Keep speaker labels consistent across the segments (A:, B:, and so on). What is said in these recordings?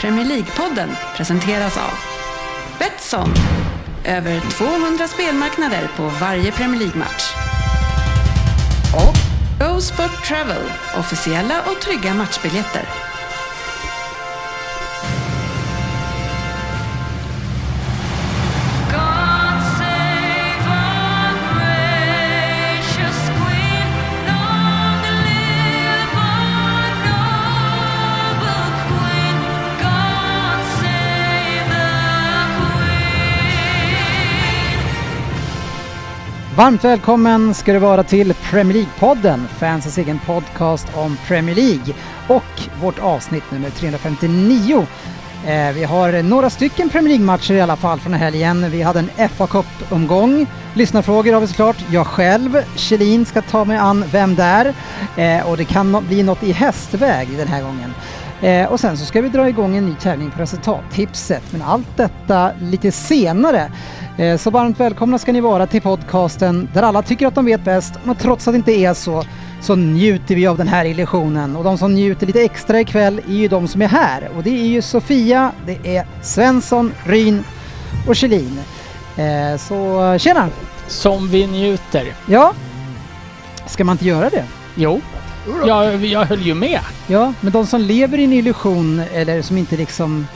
A: Premier League-podden presenteras av Betsson. Över 200 spelmarknader på varje Premier League-match. Och Go Sport Travel. Officiella och trygga matchbiljetter.
B: God save our gracious Queen. Long live our noble Queen. God save the Queen.
C: Varmt välkommen ska du vara till Premier League-podden, fansens egen podcast om Premier League och vårt avsnitt nummer 359. Eh, vi har några stycken Premier League-matcher i alla fall från helgen. Vi hade en fa Cup-omgång. Lyssnarfrågor har vi såklart. Jag själv, Kjellin, ska ta mig an Vem där? Eh, och det kan nå- bli något i hästväg den här gången. Eh, och sen så ska vi dra igång en ny tävling på resultattipset. Men allt detta lite senare. Eh, så varmt välkomna ska ni vara till podcasten där alla tycker att de vet bäst. Men trots att det inte är så, så njuter vi av den här illusionen. Och de som njuter lite extra ikväll är ju de som är här. Och det är ju Sofia, det är Svensson, Ryn och Kjellin. Eh, så tjena!
D: Som vi njuter.
C: Ja, ska man inte göra det?
D: Jo. Jag, jag höll ju med.
C: Ja, men de som lever i en illusion eller som inte liksom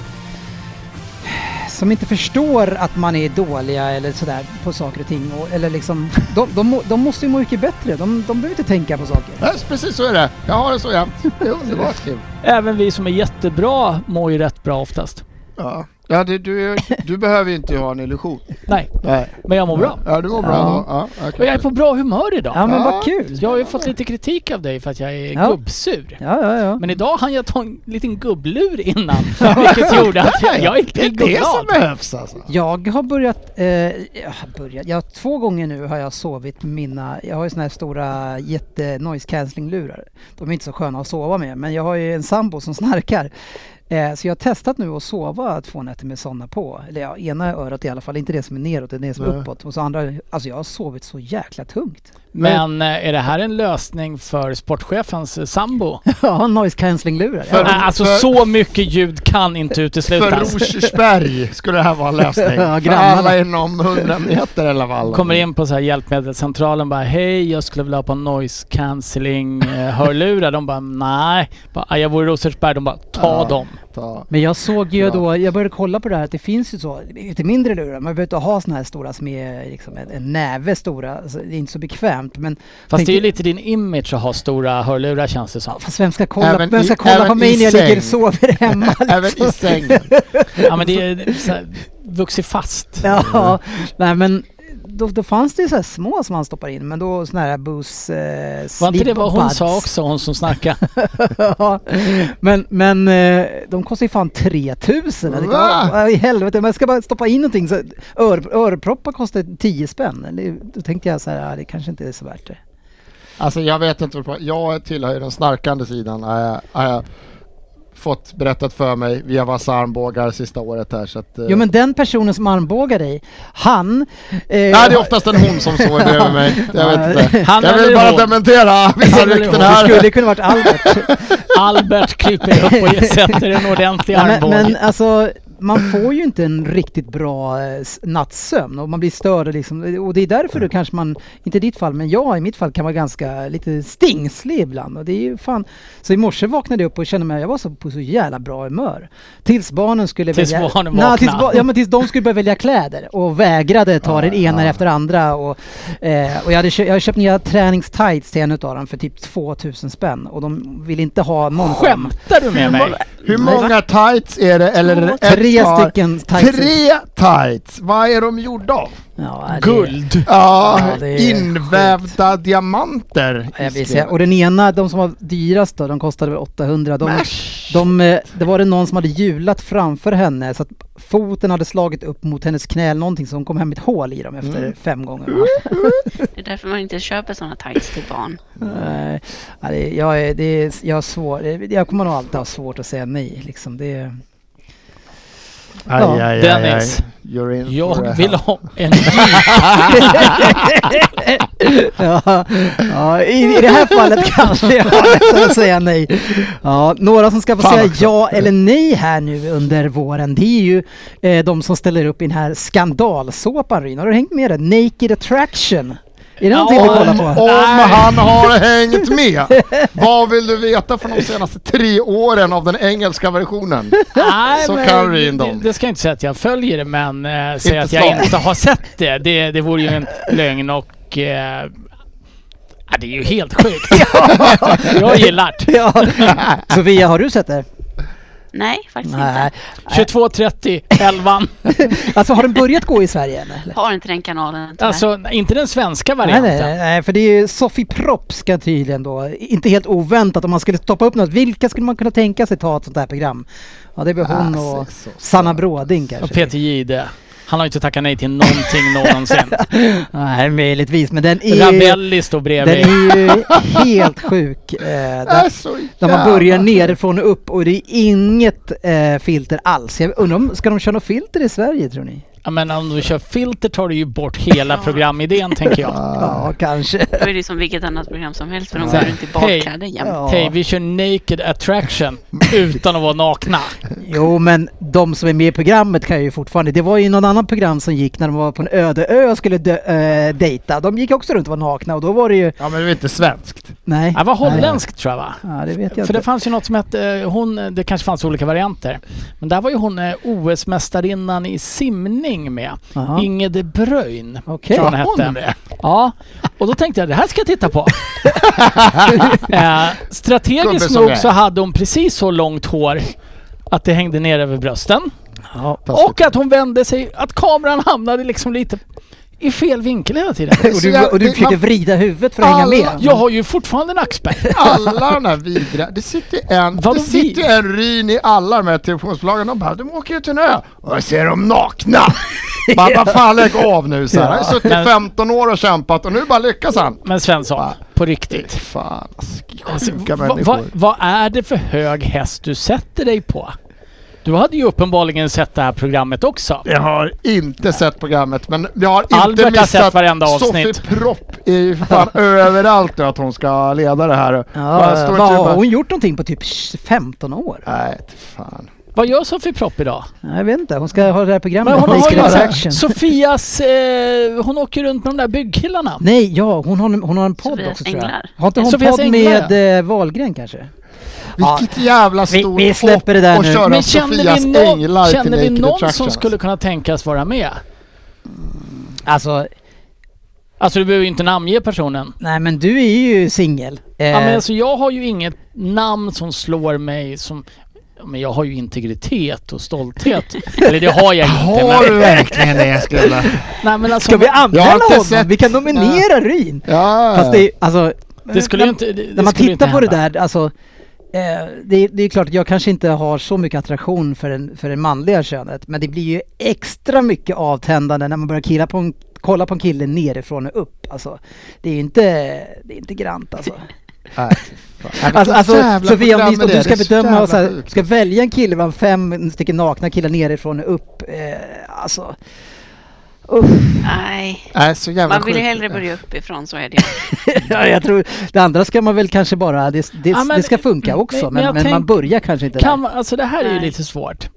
C: som inte förstår att man är dåliga eller sådär på saker och ting. Och, eller liksom, de, de, må- de måste ju må mycket bättre. De, de behöver inte tänka på saker.
E: Ja, precis så är det. Jag har det så jämt. Det är underbart kul.
D: Även vi som är jättebra mår ju rätt bra oftast.
E: Ja. Ja, du, du, du behöver ju inte ha en illusion.
D: Nej,
E: Nej.
D: men jag mår bra.
E: Ja, du mår bra
C: Ja.
E: då. Ja, ja,
D: Och jag är
E: klart.
D: på bra humör
C: Ja,
D: idag.
C: men
E: Ja.
C: vad kul!
D: Jag har ju fått lite kritik av dig för att jag är
C: Ja.
D: gubbsur.
C: Ja, ja, ja.
D: Men idag hann jag ta en liten gubblur innan, vilket gjorde att jag, jag inte
E: det är
D: gick och
E: det som
D: glad.
E: behövs alltså.
C: Jag har börjat, eh, jag har börjat, ja, två gånger nu har jag sovit med mina, jag har ju såna här stora jätte noise cancelling lurar. De är inte så sköna att sova med men jag har ju en sambo som snarkar. Eh, så jag har testat nu att sova två nätter med sådana på. Eller ja, ena örat i alla fall, inte det som är neråt, det är det som är
E: Nej.
C: uppåt. Och så andra, alltså jag har sovit så jäkla tungt.
D: Men eh, är det här en lösning för sportchefens eh, sambo?
C: Ja, noise cancelling lurar.
E: För-
D: Nej, Alltså så mycket ljud kan inte
E: För
D: uteslutas.
E: Rosersberg skulle det här vara en lösning.
C: Ja,
E: För
C: grannarna.
E: alla inom 100 meter i alla fall.
D: Kommer in på så här hjälpmedelscentralen bara hej, jag skulle vilja ha på noise cancelling eh, hörlurar. De bara nej, bara, "Ah, jag bor i Rosersberg. De bara ta
E: Ja.
D: dem.
E: Ta.
C: Men jag såg ju
E: Ja.
C: då, jag började kolla på det här att det finns ju så, lite mindre lurar. Man behöver inte ha såna här stora som är liksom en, en näve stora. Alltså, det är inte så bekvämt. Men
D: Fast det är ju
C: tänkte-
D: lite din image att ha stora hörlurar känns det som.
C: Fast vem ska kolla,
E: Även
C: vem
E: i-
C: ska kolla på
E: även
C: mig
E: i
C: när jag ligger och
E: säng.
C: sover hemma? liksom?
E: Även i sängen.
D: Ja men det är så här, vuxit fast.
C: Ja, nej men då, då fanns det ju så här små som man stoppar in, men då såna här Bose eh,
D: Var inte det vad hon
C: slip-buds.
D: sa också, hon som snackade?
C: Ja, men men eh, de kostar ju fan 3000. Jag tänkte,
E: Va?
C: "Åh, I helvete, man ska bara stoppa in någonting. Så ör, örproppar kostar 10 spänn. Det- Då tänkte jag så här, ja, det kanske inte är så värt det.
E: Alltså jag vet inte vad Jag tillhör ju den snarkande sidan. Har jag, har jag fått berättat för mig via vassa armbågar sista året här. Så att, eh,
C: Jo men den personen som armbågar dig, han... eh,
E: Nej, det är oftast en hon som sover bredvid mig. Jag vet inte.
D: Han
E: jag
D: eller
E: vill bara
D: hon.
E: dementera vissa
D: Han eller
E: rykten
D: hon.
C: det
E: här.
C: skulle kunna varit Albert.
D: Albert kryper upp och sätter en ordentlig
C: Ja, men,
D: armbåge.
C: men alltså, man får ju inte en riktigt bra eh, s- nattsömn och man blir störd. Liksom. Och det är därför då kanske man, inte i ditt fall, men jag i mitt fall kan vara ganska lite stingslig ibland. Och det är ju fan. Så i morse vaknade jag upp och kände mig, jag var så, på så jävla bra humör. Tills barnen skulle
D: Tills
C: välja...
D: barnen
C: Nej,
D: vaknade. Ah,
C: tills, ba- ja, men tills de skulle börja välja kläder och vägrade ta den ena efter andra. Och, eh, och jag, hade kö- jag hade köpt nya träningstights till en utav dem för typ 2000 spänn och de vill inte ha någon skämt.
D: Skämtar du med mig?
E: Hur många tights är det? Eller ett
C: Tre
E: par?
C: stycken tights.
E: Tre tights! Vad är de gjorda av?
C: Ja, det-
D: Guld.
E: Ja,
C: Ja, det är
E: invävda diamanter.
C: Ja, Jag vill säga. Och den ena, de som var dyrast då, de kostade väl 800. De, de, eh, det var det någon som hade hjulat framför henne så att foten hade slagit upp mot hennes knäl någonting så hon kom hem med ett hål i dem efter
E: Mm.
C: fem gånger.
F: Det är därför man inte köper sådana tights till barn.
C: Nej, ja, det, jag, är, det är, jag, har svår, jag kommer nog alltid ha svårt att säga nej. Liksom. Det, är-
E: Aj,
C: Ja.
E: aj, aj,
D: Dennis.
E: aj. You're in for a
D: Jag vill
E: help.
D: ha en jeep.
C: ja, ja, i, I det här fallet kanske jag har lättare att säga nej. Ja, några som ska få
E: Fan
C: säga
E: också.
C: ja eller nej här nu under våren, det är ju eh, de som ställer upp i den här skandalsåpan Ryn. Har du hängt med det? Naked Attraction. Är det någonting vi
E: Om,
C: kollar på?
E: om han har hängt med! Vad vill du veta från de senaste tre åren av den engelska versionen?
D: Nej,
E: Så
D: men
E: kan du in
D: det-
E: dem.
D: Det ska jag inte säga att jag följer det, men eh,
E: Inte
D: säga att jag
E: svag.
D: inte har sett det. det. Det vore ju en lögn och... Eh, ja, det är ju helt sjukt. jag gillar det.
C: Ja. Sofia, har du sett det?
G: Nej, faktiskt
C: Nej.
G: inte.
D: 22.30, 11.
C: Alltså har den börjat gå i Sverige än? eller?
G: Har inte den kanalen tyvärr.
D: Alltså, inte den svenska
C: Nej,
D: varianten.
C: nej, nej, nej, för det är ju Sofie Propp ska tydligen då, inte helt oväntat, om man skulle stoppa upp något, vilka skulle man kunna tänka sig ta ett sånt här program? Ja, det är väl hon
E: Ah,
C: och
E: så- så-
C: Sanna Bråding kanske.
D: Och Peter Jihde. Han har ju inte tackat nej till någonting någonsin.
C: Nej, möjligtvis, men den är ju,
D: Rabelli står
C: den
D: bredvid.
C: är ju helt sjuk. Eh,
E: Det är
C: där,
E: så
C: när man börjar
E: jävla-
C: nerifrån och upp och det är inget eh, filter alls. Jag undrar om, ska de köra något filter i Sverige tror ni?
D: Ja, men om du kör filter tar du ju bort hela programidén, tänker jag.
C: Ja, kanske.
G: Då är det ju som vilket annat program som helst för de
D: Så
G: går
D: här,
G: runt i
D: hej.
G: badkläder jämt.
C: Ja.
D: Hej, vi kör naked attraction utan att vara nakna.
C: Jo, men de som är med i programmet kan ju fortfarande. Det var ju någon annan program som gick när de var på en öde ö och skulle dö, eh, dejta. De gick också runt och var nakna och då var det ju...
E: Ja men det är inte svenskt.
C: Nej.
D: Det var holländskt tror jag va?
C: Nej. Ja, det vet jag
D: För det
C: inte.
D: fanns ju något som hette, eh, hon, eh, det kanske fanns olika varianter. Men där var ju hon eh, OS-mästarinnan i simning med.
C: Jaha.
D: Inged Bröjn.
C: Okej.
D: tror jag
E: Var hon
D: hon hette. Ja, och då tänkte jag det här ska jag titta på. eh,
E: Gubbe
D: strategiskt
E: som jag är.
D: nog så hade hon precis så långt hår att det hängde ner över brösten.
C: Ja.
E: Taskigt.
D: Och att hon vände sig, att kameran hamnade liksom lite i fel vinkel hela tiden.
C: Och
E: Så
C: du,
E: jag-
C: och du
E: det-
C: försökte
E: man-
C: vrida huvudet för att hänga med?
D: Jag har ju fortfarande en axpärr.
E: Alla de här vidriga, det sitter en,
D: Vadå
E: det sitter
D: vi?
E: en ryn i alla de här televisionsbolagen, de bara de åker ut till en ö och jag ser dem nakna! Man bara fan lägg av nu så här. Jag har suttit
D: Men-
E: 15 år och kämpat och nu bara lyckas han!
D: Men Svensson,
E: Va?
D: på riktigt.
E: Fan, alltså,
D: Alltså,
E: sjuka
D: va-
E: människor.
D: va- vad är det för hög häst du sätter dig på? Du hade ju uppenbarligen sett det här programmet också.
E: Jag har inte sett programmet men jag har inte
D: Albert har
E: missat
D: sett varenda avsnitt.
E: Sofie Propp är ju för fan överallt nu att hon ska leda det här. Bara
C: Ja,
E: står
C: vad
E: typ
C: har
E: bara-
C: hon gjort någonting på typ 15 år?
E: Nej, till fan.
D: Vad gör Sofie Propp idag?
C: Jag vet inte, hon ska ha det här programmet.
D: Men hon
C: Naked
D: har ju
C: Attraction.
D: Sofias... Eh, hon åker runt med de där byggkillarna.
C: Nej, ja, hon har, hon har en podd
G: Sofias
C: också tror jag.
G: Änglar.
C: Har inte hon
D: Sofias
C: podd
D: Änglar,
C: med eh, Wahlgren kanske?
E: Vilket jävla
C: vi-
E: stort
C: vi släpper
E: hopp
C: det där
E: att
C: nu.
E: köra
D: Men känner
E: Sofias
D: vi,
E: änglar
D: någon,
E: till
D: känner vi
E: Naked
D: någon
E: Attraction,
D: som skulle kunna tänkas vara med?
C: Alltså,
D: Alltså du behöver ju inte namnge personen.
C: nej men du är ju singel.
D: Ja, men
C: Eh,
D: alltså, jag har ju inget namn som slår mig som... Ja, Men jag har ju integritet och stolthet. Eller det har jag inte.
E: Har
D: Men,
E: du verkligen det Skrulle?
D: nej, men alltså,
C: Ska vi anmäla
E: Jag har inte
C: honom?
E: sett-
C: Vi kan nominera Ryn!
E: Ja,
C: Fast det är alltså...
D: Det skulle
C: när,
D: ju inte... Det, det
C: när man
D: skulle ju inte
C: tittar på det
D: hända.
C: där, alltså... Eh, det, det är klart att jag kanske inte har så mycket attraktion för, en, för det manliga könet, men det blir ju extra mycket avtändande när man börjar killa på en, kolla på en kille nerifrån och upp. Alltså, det är ju inte, det är inte grant alltså.
E: Nej, fy fan. Nej,
C: alltså,
E: vilket
C: alltså
E: jävla
C: Sofia, om
E: program
C: du, om
E: det är.
C: du ska
E: Det är så
C: bedöma
E: jävla
C: och så här,
E: sjukt.
C: ska välja en kille bland fem stycken nakna killar nerifrån och upp, eh, alltså... Uff.
G: Nej.
E: Nej, så jävla
G: Man vill ju
E: sjukt.
G: hellre börja uppifrån, så är det ju.
C: Ja, jag tror, det andra ska man väl kanske bara, det, det,
D: Ja, men-
C: det ska funka också,
D: men-
C: men,
D: men
C: men,
D: jag
C: man
D: tänk-
C: börjar kanske inte
D: Kan,
C: där.
D: man- alltså det här är ju
G: Nej.
D: lite svårt.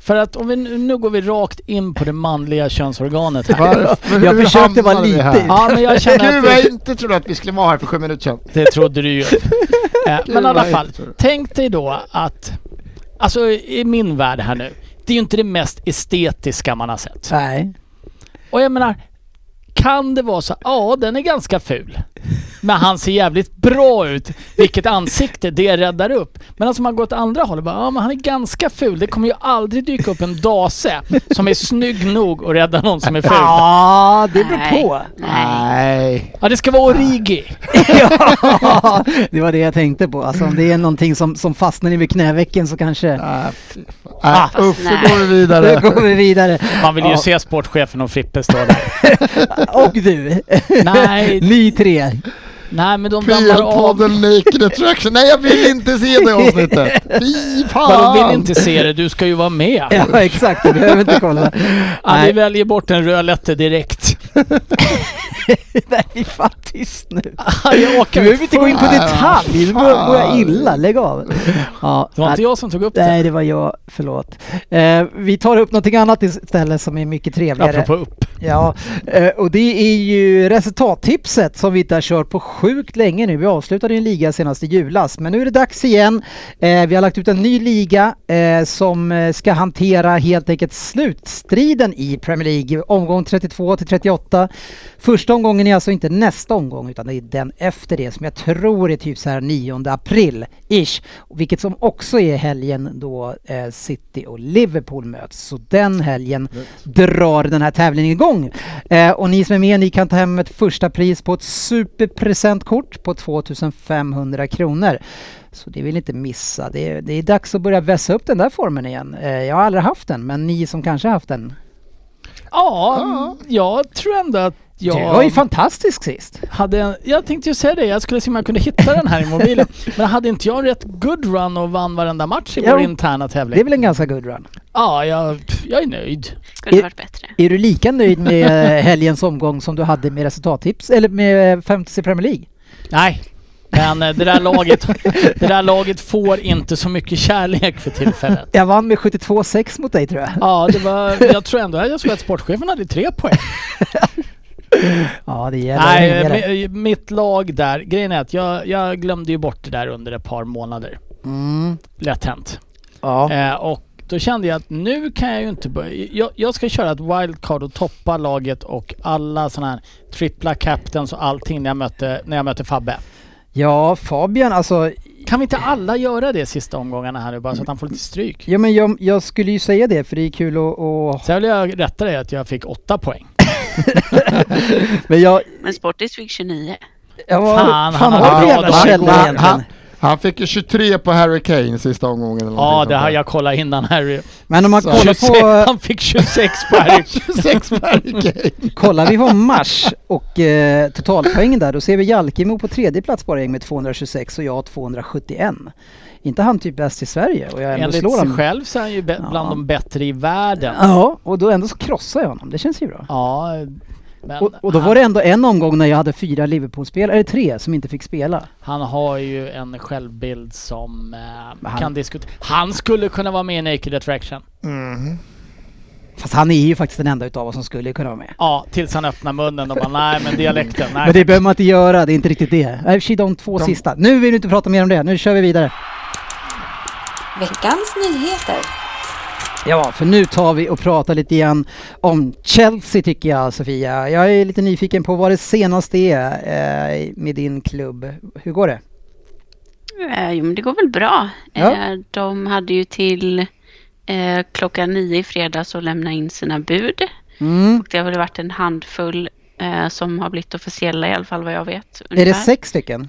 D: För att om vi nu, nu går vi rakt in på det manliga könsorganet här.
E: Varför-
C: Jag
E: hur
C: försökte vara
E: hamnade vi
C: lite-
E: här?
D: Ja men jag känner
E: Gud vad
D: att
E: jag
D: vi,
E: inte trodde att vi skulle vara här för sju minuter sedan.
D: det trodde du ju. Eh,
E: Gud,
D: Men i alla
E: vad jag
D: fall,
E: inte trodde.
D: tänk dig då att, alltså i min värld här nu, det är ju inte det mest estetiska man har sett.
C: Nej.
D: Och jag menar, kan det vara så, ja den är ganska ful. Men han ser jävligt bra ut. Vilket ansikte, det räddar upp. Men alltså man går åt andra hållet bara, ja men han är ganska ful. Det kommer ju aldrig dyka upp en dase som är snygg nog att rädda någon som är ful.
C: Ja, det beror
G: Nej.
C: på.
G: Nej.
D: Ja det ska vara origi.
C: ja, det var det jag tänkte på. Alltså, om det är någonting som, som fastnar i vid knävecken så kanske...
E: Nej, fy fan. Nej, Uff, nu
G: nej.
E: går
C: Då
E: vi vidare.
C: Ah, går vi vidare.
D: Man vill ju
C: Ja.
D: se sportchefen och Frippe stå där.
C: Och du.
D: Nej,
C: Ni tre.
D: Nej men de dammar av.
E: PL-podden Naked Attraction. Nej, jag vill inte se det avsnittet. Fy
D: Vadå,
E: fan!
D: vill inte se det? Du ska ju vara med.
C: Ja, exakt. Du behöver inte kolla.
D: Ja, vi
C: Nej,
D: väljer bort en röd lätte direkt.
C: nej, vi är fan tyst nu.
D: Jag
C: Du
D: åker.
C: behöver inte gå in på
E: Nej,
C: detalj. Nu
E: fan.
C: mår jag illa. Lägg av. Ja,
D: Det var
C: nej.
D: inte jag som tog upp det.
C: Nej, det var jag. Förlåt. Eh, vi tar upp någonting annat istället som är mycket trevligare.
D: Apropå upp.
C: Ja, eh, och det är ju resultattipset som vi inte har kört på sjukt länge nu. Vi avslutade ju en liga senast i julas, men nu är det dags igen. Eh, Vi har lagt ut en ny liga eh, som eh, ska hantera helt enkelt slutstriden i Premier League. Omgång 32 till 38. Första omgången är alltså inte nästa omgång utan det är den efter det som jag tror är typ så här 9 april-ish. Vilket som också är helgen då eh, City och Liverpool möts. Så den helgen drar den här tävlingen igång. Eh, och ni som är med, ni kan ta hem ett första pris på ett superpresentkort på 2500 kronor. Så det vill ni inte missa. Det är, det är dags att börja vässa upp den där formen igen. Eh, jag har aldrig haft den, men ni som kanske har haft den.
D: Ja, jag tror ändå att jag...
C: Du var ju fantastisk sist.
D: hade en, jag tänkte ju säga det, jag skulle se om jag kunde hitta den här i mobilen. Men hade inte jag en rätt good run och vann varenda match i
C: Jo.
D: vår interna
C: Det är
D: tävling?
C: väl en ganska good run.
D: Ja, jag, jag är nöjd.
G: Kunde
C: I-
G: varit bättre.
C: Är du lika nöjd med eh, helgens omgång som du hade med resultattips, eller med eh, Fantasy Premier League?
D: Nej. Men eh, det där, laget, det där laget får inte så mycket kärlek för tillfället.
C: Jag vann med 72-6 mot dig tror jag.
D: Ja, det var, jag tror ändå att jag såg att sportchefen hade tre poäng.
C: Ja, det gäller.
D: Nej,
C: det
D: eh,
C: gäller.
D: mi- mitt lag där, grejen är att jag, jag glömde ju bort det där under ett par månader.
C: Mm.
D: Lätt hänt.
C: Ja.
D: Eh, och då kände jag att nu kan jag ju inte börja. Jag, jag ska köra ett wildcard och toppa laget och alla sådana här trippla captains och allting när jag möter, när jag möter Fabbe.
C: ja, Fabian alltså.
D: Kan vi inte alla göra det sista omgångarna här nu bara så att han får lite stryk?
C: Ja, men jag, jag skulle ju säga det för det är kul att... att-
D: Sen vill jag rätta dig att jag fick åtta poäng.
C: Men jag...
G: Men Sportis fick 29.
C: jag
D: Fan, han har
C: har du
D: bra
C: jävla
D: dag.
C: källa
E: Han-
C: egentligen?
E: han- Han fick ju 23 på Harry Kane sista omgången. Eller någonting
D: Ja,
E: sånt
D: det har
E: där.
D: jag kollat innan Harry.
C: Men om man
E: Så-
C: kollar
D: 26,
C: på...
D: han fick 26 på Harry.
E: 26 på Harry Kane.
C: Kollar vi på mars och eh, totalpoängen där, då ser vi Jalkemo på tredje plats bara med 226 och jag 271. Inte han typ bäst i Sverige och jag ändå
D: Enligt
C: slår
D: sig
C: honom.
D: själv så är han ju be- bland
C: Ja.
D: de bättre i världen.
C: Ja, och då ändå så krossar jag honom. Det känns ju bra.
D: Ja, men
C: Och, och då var det ändå en omgång när jag hade fyra Liverpool-spelare, eller tre, som inte fick spela.
D: Han har ju en självbild som eh,
C: han-
D: kan diskutera. Han skulle kunna vara med i Naked Attraction.
C: Fast han är ju faktiskt den enda utav oss som skulle kunna vara med.
D: Ja, tills han öppnar munnen och bara nej men dialekten, nej.
C: Men det behöver man inte göra, det är inte riktigt det. Nej, i och för sig, de två sista. Nu vill du inte prata mer om det, nu kör vi vidare.
H: Veckans nyheter.
C: Ja, för nu tar vi och pratar lite igen om Chelsea tycker jag, Sofia. Jag är lite nyfiken på vad det senaste är eh, med din klubb. Hur går det?
G: Eh, jo, men det går väl bra.
C: Ja.
G: Eh, de hade ju till eh, klockan nio i fredags att lämna in sina bud.
C: Mm.
G: Och det har väl varit en handfull eh, som har blivit officiella i alla fall vad jag vet.
C: Är det
G: ungefär.
C: sex stycken?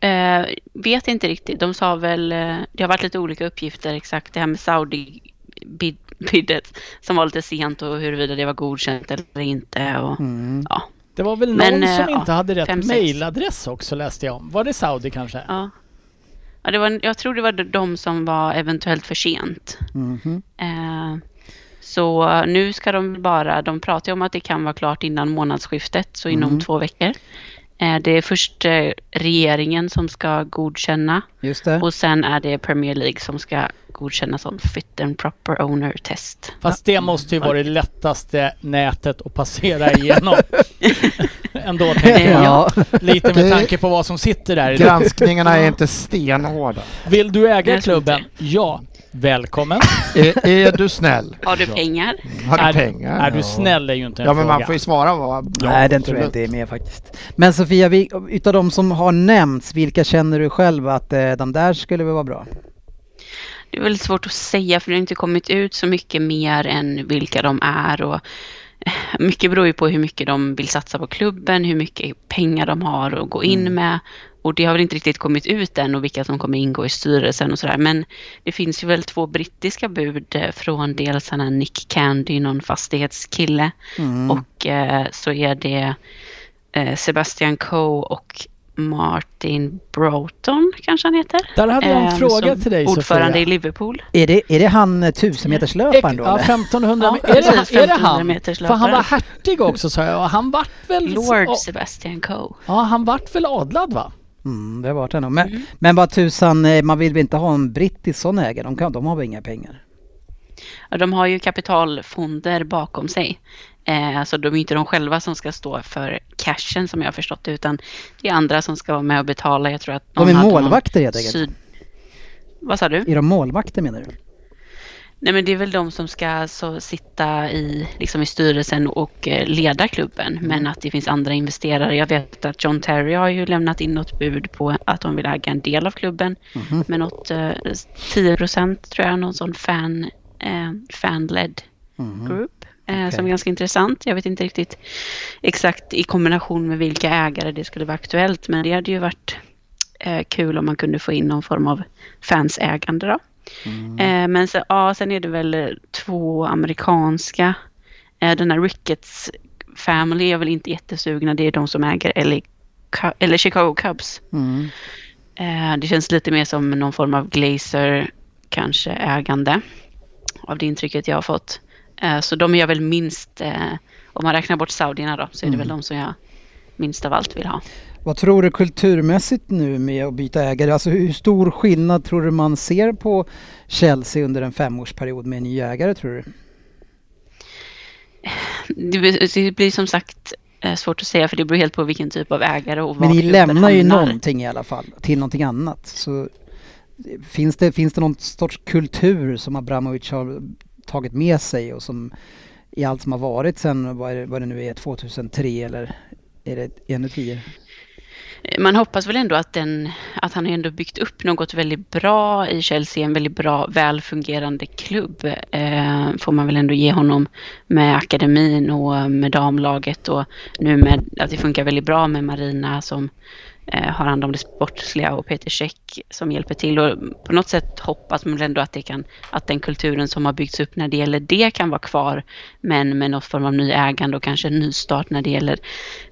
G: Eh, vet inte riktigt. De sa väl, eh, det har varit lite olika uppgifter exakt det här med Saudi-bidet som var lite sent och huruvida det var godkänt eller inte. Och,
C: Mm.
G: ja.
D: Det var väl
G: Men,
D: någon
G: eh,
D: som
G: ja,
D: inte hade
G: fem,
D: rätt
G: sex.
D: mailadress också läste jag om. Var det Saudi kanske?
G: Ja. Ja, det var, jag tror det var de som var eventuellt för sent.
C: mhm.
G: Eh, så nu ska de bara, de pratar ju om att det kan vara klart innan månadsskiftet, så inom två veckor. Eh, det är först eh, regeringen som ska godkänna
C: Just det.
G: och sen är det Premier League som ska godkänna som fit and proper owner test.
D: Fast det måste ju vara det lättaste nätet att passera igenom. Ändå tänker jag.
C: Ja.
D: Lite med
E: Det-
D: tanke på vad som sitter där idag.
E: Granskningarna är inte stenhårda.
D: Vill du äga
G: Jag tror inte.
D: klubben? Ja. Välkommen.
E: Är, är du snäll?
G: Har du pengar?
E: Har du
D: Är-
E: pengar?
D: Är du
E: Ja.
D: snäll är ju inte en
E: Ja,
D: fråga.
E: men man får ju svara vad...
C: Nej, den tror jag inte är med faktiskt. Men Sofia, vi, utav de som har nämnts, vilka känner du själv att eh, de där skulle väl vara bra?
G: Det är väldigt svårt att säga för det har inte kommit ut så mycket mer än vilka de är. Och eh, mycket beror ju på hur mycket de vill satsa på klubben, hur mycket pengar de har att gå in med. Och det har väl inte riktigt kommit ut än och vilka som kommer ingå i styrelsen och sådär. Men det finns ju väl två brittiska bud eh, från dels han här Nick Candy, någon fastighetskille. Och eh, så är det eh, Sebastian Coe och Martin Broughton, kanske han heter.
D: Där hade jag en
G: eh,
D: fråga
G: som
D: till dig
G: Ordförande
D: Sofia.
G: i Liverpool.
C: Är det, är det han eh,
D: Ex-
C: tusenmeterslöparen då?
D: Ja,
C: eller?
D: 1500
G: Ja,
D: meter. är,
G: precis,
D: det, är det
G: 1500
D: han?
G: meterslöparen.
D: För han var hertig också sa jag och han vart väl...
G: Lord
D: Mm, ja,
G: Sebastian Coe.
D: Ja, han vart väl adlad va?
C: Mm, det har varit det nog. Men, men vad tusan, eh, man vill väl inte ha en brittisk sån ägare? De, kan, de har väl inga pengar?
G: Ja, De har ju kapitalfonder bakom sig. Eh, Alltså de är inte de själva som ska stå för cashen som jag har förstått det, utan det är andra som ska vara med och betala. Jag tror att
C: De
G: någon
C: är
G: hade någon
C: målvakter helt enkelt.
G: syd- Vad sa du?
C: Är de målvakter menar du?
G: Nej men det är väl de som ska så sitta i, liksom i styrelsen och eh, leda klubben. Men att det finns andra investerare. Jag vet att John Terry har ju lämnat in något bud på att de vill äga en del av klubben. Med något eh, 10 procent tror jag, någon sån fan, eh, fanled group. Eh, Som är ganska intressant. Jag vet inte riktigt exakt i kombination med vilka ägare det skulle vara aktuellt. Men det hade ju varit eh, kul om man kunde få in någon form av fansägande då.
C: Mm.
G: Eh, men sen, ja, sen är det väl eh, två amerikanska. Eh, den här Ricketts Family är väl inte jättesugna. Det är de som äger LA, Cu- eller Chicago Cubs.
C: Mm.
G: Eh, det känns lite mer som någon form av glazer kanske ägande. Av det intrycket jag har fått. Eh, så de är jag väl minst, eh, om man räknar bort saudierna då,
C: Mm.
G: så är det väl de som jag minst av allt vill ha.
C: Vad tror du kulturmässigt nu med att byta ägare? Alltså hur stor skillnad tror du man ser på Chelsea under en femårsperiod med en ny ägare tror du?
G: Det, blir- det blir som sagt eh, svårt att säga för det beror helt på vilken typ av ägare och var
C: Men ni
G: klubben
C: lämnar ju
G: hamnar.
C: någonting i alla fall till någonting annat. Så eh, finns, det, finns det någon sorts kultur som Abramovic har tagit med sig och som i allt som har varit sen, vad, är det, vad det nu är, 2003 eller är det ännu tidigare?
G: Eh, Man hoppas väl ändå att, den, att han har ändå byggt upp något väldigt bra i Chelsea, en väldigt bra, välfungerande klubb. Eh, får man väl ändå ge honom med akademin och med damlaget och nu med att det funkar väldigt bra med Marina som eh, har hand om det sportsliga och Peter Käck som hjälper till. Och på något sätt hoppas man väl ändå att, det kan, att den kulturen som har byggts upp när det gäller det kan vara kvar, men med någon form av ny ägande och kanske en ny start när det gäller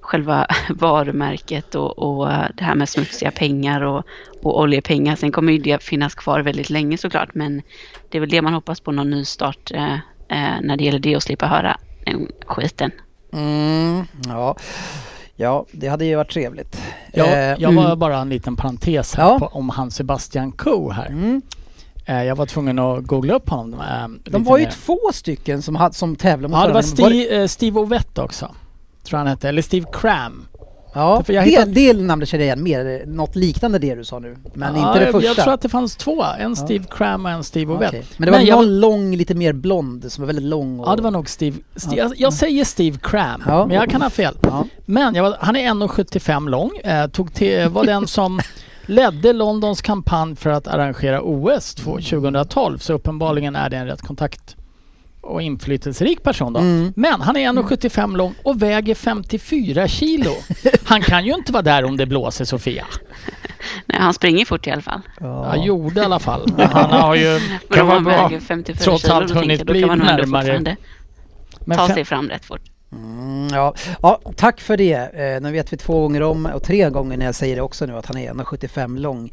G: själva varumärket och, och eh, det här med smutsiga pengar och, och oljepengar. Sen kommer ju det finnas kvar väldigt länge såklart, men det är väl det man hoppas på, någon ny start eh, eh, när det gäller det och slippa höra den skiten.
C: Mm, ja. ja, det hade ju varit trevligt.
D: Jag,
C: Eh,
D: jag var
G: mm.
D: bara en liten parentes här
C: Ja.
D: på, om han Sebastian Coe här.
C: Mm.
D: Eh, jag var tvungen att googla upp honom. Eh, lite
C: De var ju
D: mer.
C: två stycken som, hade, som tävlade mot
D: Ja, det var
C: varandra.
D: Steve, eh, Steve Ovett också. Tror han hette. Eller Steve Cram.
C: Ja,
D: för jag
C: det,
D: hittade-
C: det namnet känner jag igen mer, något liknande det du sa nu. Men
D: Ja,
C: inte det
D: jag-
C: första.
D: Jag tror att det fanns två. En Steve Cram och en Steve Ovett.
C: Okej. Men det var
D: Men jag-
C: någon lång, lite mer blond som var väldigt lång och...
D: Ja, det var nog Steve... Steve jag, jag säger Steve Cram,
C: Ja.
D: men jag kan ha fel.
C: Ja.
D: Men jag var, han är 1,75 lång. Eh, tog till, var den som ledde Londons kampanj för att arrangera OS 2012. Så uppenbarligen är det en rätt kontakt och inflytelserik person då.
C: Mm.
D: Men han är 1,75 lång och väger 54 kilo. Han kan ju inte vara där om det blåser Sofia.
G: Nej, han springer fort i alla fall.
C: Ja.
D: Jag gjorde i alla fall. Han har ju...
G: Men om
E: vara
G: han
E: bra.
G: väger 54
D: Trots
G: kilo,
D: allt
G: då tänker
D: hunnit
G: jag, då
D: bli
G: kan man nog ändå
D: närmare.
G: fortfarande
D: Men
G: ta
D: fem-
G: sig fram rätt fort.
C: Mm, ja. ja, tack för det. Eh, nu vet vi två gånger om och tre gånger när jag säger det också nu att han är 1,75 lång.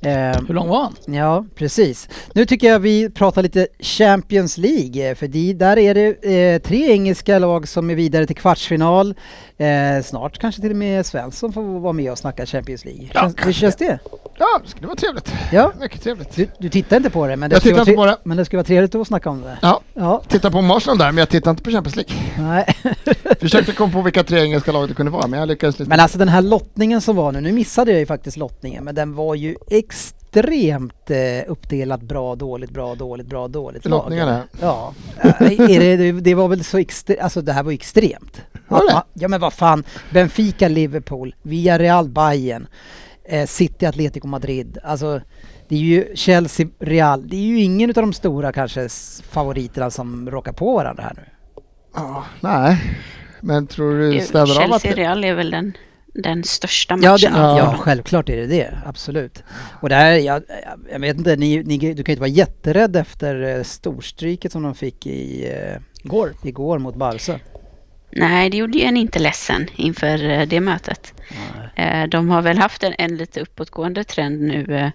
C: Eh,
D: hur lång var han?
C: ja, precis. Nu tycker jag vi pratar lite Champions League eh, för de, där är det eh, tre engelska lag som är vidare till kvartsfinal. Eh, snart kanske till och med Svensson får vara med och snacka Champions League.
E: Ja,
C: Känns, hur
E: kanske.
C: känns det?
E: Ja, det skulle vara trevligt.
C: Ja.
E: Mycket trevligt.
C: Du, du tittar inte på det men det,
E: Jag
C: skulle
E: tittar
C: vara
E: inte på
C: tre-
E: det.
C: men det skulle vara trevligt att snacka om det.
E: Ja,
C: Ja,
E: titta på Arsenal där, men jag tittar inte på Champions League.
C: nej.
E: Försökte komma på vilka tre engelska lag det kunde vara, men jag lyckades inte.
C: Men alltså den här lottningen som var nu, nu missade jag ju faktiskt lottningen, men den var ju extremt eh, uppdelat bra, dåligt, bra, dåligt, bra, dåligt. lag.
E: Lottningarna?
C: Ja. Eh, är det, det- det var väl så extremt, alltså det här var ju extremt.
E: Var det?
C: Ja, ja men vad fan, Benfica, Liverpool, Villarreal, Bayern, eh, City, Atletico Madrid. Alltså det är ju Chelsea, Real, det är ju ingen av de stora kanske s- favoriterna som råkar på varandra här nu.
E: Ja, nej. Men tror du stämmer Eh, av att...
G: Chelsea-Real är väl den, den största matchen.
C: Ja, det,
E: Ja.
C: ja, självklart är det det. Absolut. Och där, jag, jag vet inte, ni, ni, du kan ju inte vara jätterädd efter eh, storstryket som de fick i, eh,
D: Går.
C: igår mot Barca.
G: Nej, det gjorde ju en inte ledsen inför eh, det mötet. Eh, De har väl haft en, en lite uppåtgående trend nu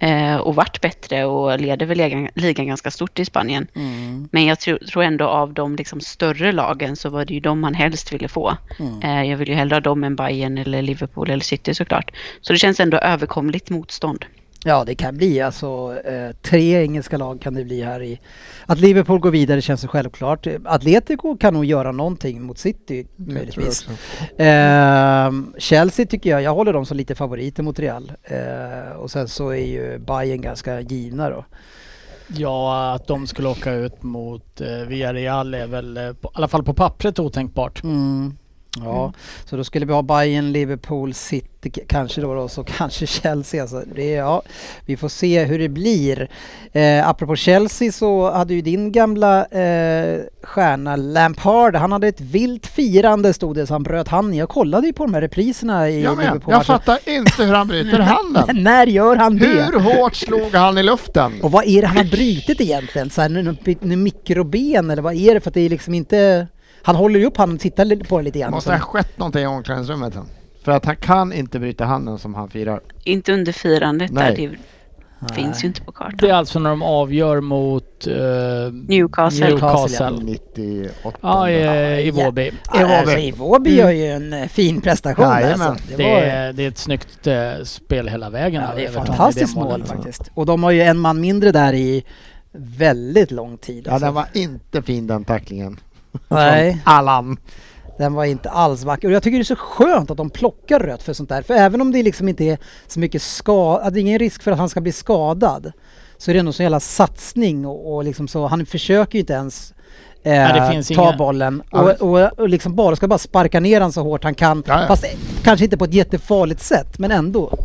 G: eh, eh, och varit bättre och leder väl ligan, ligan ganska stort i Spanien.
E: Mm.
C: Mm.
G: Men jag tror, tror ändå av de liksom större lagen så var det ju de man helst ville få.
E: Mm.
G: Eh, Jag vill ju hellre ha dem än Bayern eller Liverpool eller City såklart. Så det känns ändå överkomligt motstånd.
C: Ja, det kan bli alltså eh, tre engelska lag kan det bli här i. Att Liverpool går vidare känns så självklart. Atletico kan nog göra någonting mot City möjligtvis. Eh, Chelsea tycker jag, jag håller dem som lite favoriter mot Real. Eh, och sen så är ju Bayern ganska givna då.
D: Ja, att de skulle åka ut mot eh, Villarreal är väl, eh, på, i alla fall på pappret, otänkbart.
C: Mm. Ja,
E: Mm.
C: så då skulle vi ha Bayern, Liverpool, City k- kanske då, då så kanske Chelsea. Alltså, det, är- ja, vi får se hur det blir. Eh, apropå Chelsea så hade ju din gamla eh, stjärna Lampard, han hade ett vilt firande stod det så han bröt handen. Jag kollade ju på de här repriserna i
E: Jag med.
C: Liverpool.
E: Jag
C: alltså.
E: fattar inte hur han bryter handen.
C: När gör han det?
E: Hur hårt slog han i luften?
C: Och vad är det han har brutit egentligen? Så här, nu, nu, nu mikroben eller vad är det? För att det är liksom inte... Han håller ju upp handen och tittar li- på det lite grann.
E: Måste ha skett någonting i omklädningsrummet. han. För att han kan inte bryta handen som han firar.
G: Inte under firandet
E: Nej.
G: där, det finns ju inte på kartan.
D: Det är alltså när de avgör mot eh,
C: Newcastle,
G: Newcastle.
D: Newcastle.
E: 98.
D: Ja, i, i Vårby.
E: Evobi.
C: Alltså, Evobi gör ju en eh, fin prestation
E: Mm. Jajamän.
C: alltså. Det
D: Det
C: var,
D: är, det är ett snyggt eh, spel hela vägen.
C: ja, det är ett
D: Everton i
C: fantastiskt
D: det målet.
C: mål faktiskt. Och de har ju en man mindre där i väldigt lång tid.
E: Ja,
C: alltså.
E: den var inte fin den tacklingen.
C: Nej,
E: Allan.
C: den var inte alls vacker. Och jag tycker det är så skönt att de plockar rött för sånt där. För även om det liksom inte är så mycket skada, det är ingen risk för att han ska bli skadad. Så är det ändå så jävla satsning och, och liksom så, han försöker ju inte ens eh,
D: det finns
C: ta
D: inga-
C: bollen
E: Ja,
C: och,
E: men-
C: och, och liksom bara, ska bara sparka ner han så hårt han kan.
E: Ja, ja.
C: Fast eh, kanske inte på ett jättefarligt sätt, men ändå.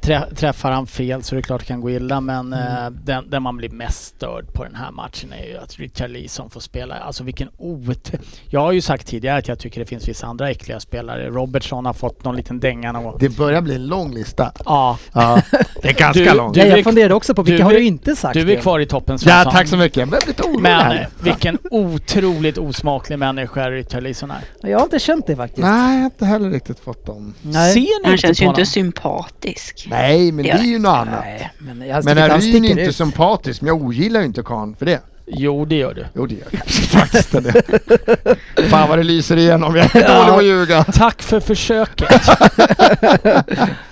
D: Trä, träffar han fel så är det klart det kan gå illa men eh,
C: Mm.
D: den, den man blir mest störd på den här matchen är ju att Richard Leeson får spela. Alltså vilken ot... Jag har ju sagt tidigare att jag tycker det finns vissa andra äckliga spelare. Robertson har fått någon liten dänga någon gång.
E: Det börjar bli en lång lista.
D: Ja,
E: Ja, det är ganska
D: Du-
E: lång.
D: du-
C: Nej,
D: är-
C: jag funderade också på vilka
D: du
C: har
D: är-
C: du inte sagt?
D: du är
C: det?
D: kvar i toppen
E: Ja, tack så mycket. Jag blev lite orolig
D: Men
E: här.
D: eh, vilken otroligt osmaklig människa Richard Leeson är.
C: Jag har inte känt det faktiskt.
E: Nej, jag har inte heller riktigt fått dem.
C: Nej.
D: Ser ni
G: Han känns
D: inte
G: ju
D: på
G: inte
D: honom?
G: sympatisk.
E: Nej, men det är ju något annat.
C: Nej, men jag
E: Men
C: tycker att han
E: Ryn är
C: sticker
E: inte
C: ut.
E: sympatisk, men jag ogillar ju inte karln för det.
D: Jo, det gör du.
E: Jo, det gör jag kanske faktiskt. Det. Fan vad det lyser igenom. Jag är dålig på att ljuga.
D: Tack för försöket.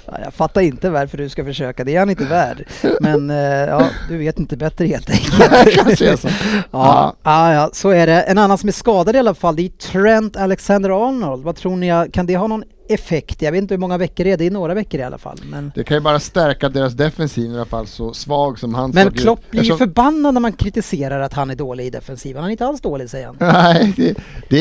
C: Ja, jag fattar inte varför du ska försöka, det är han inte värd. Men eh, ja, du vet inte bättre helt enkelt.
E: kanske är så.
C: Ja, ja, ja, så är det. En annan som är skadad i alla fall, det är Trent Alexander-Arnold. Vad tror ni, kan det ha någon effekt? Jag vet inte hur många veckor det är, det är några veckor i alla fall. Men,
E: Det kan ju bara stärka deras defensiv i alla fall, så svag som han
C: men
E: såg ut.
C: Klopp blir ju
E: Eftersom-
C: förbannad när man kritiserar att han är dålig i defensiven. Han är inte alls dålig säger han.
E: Nej, det, det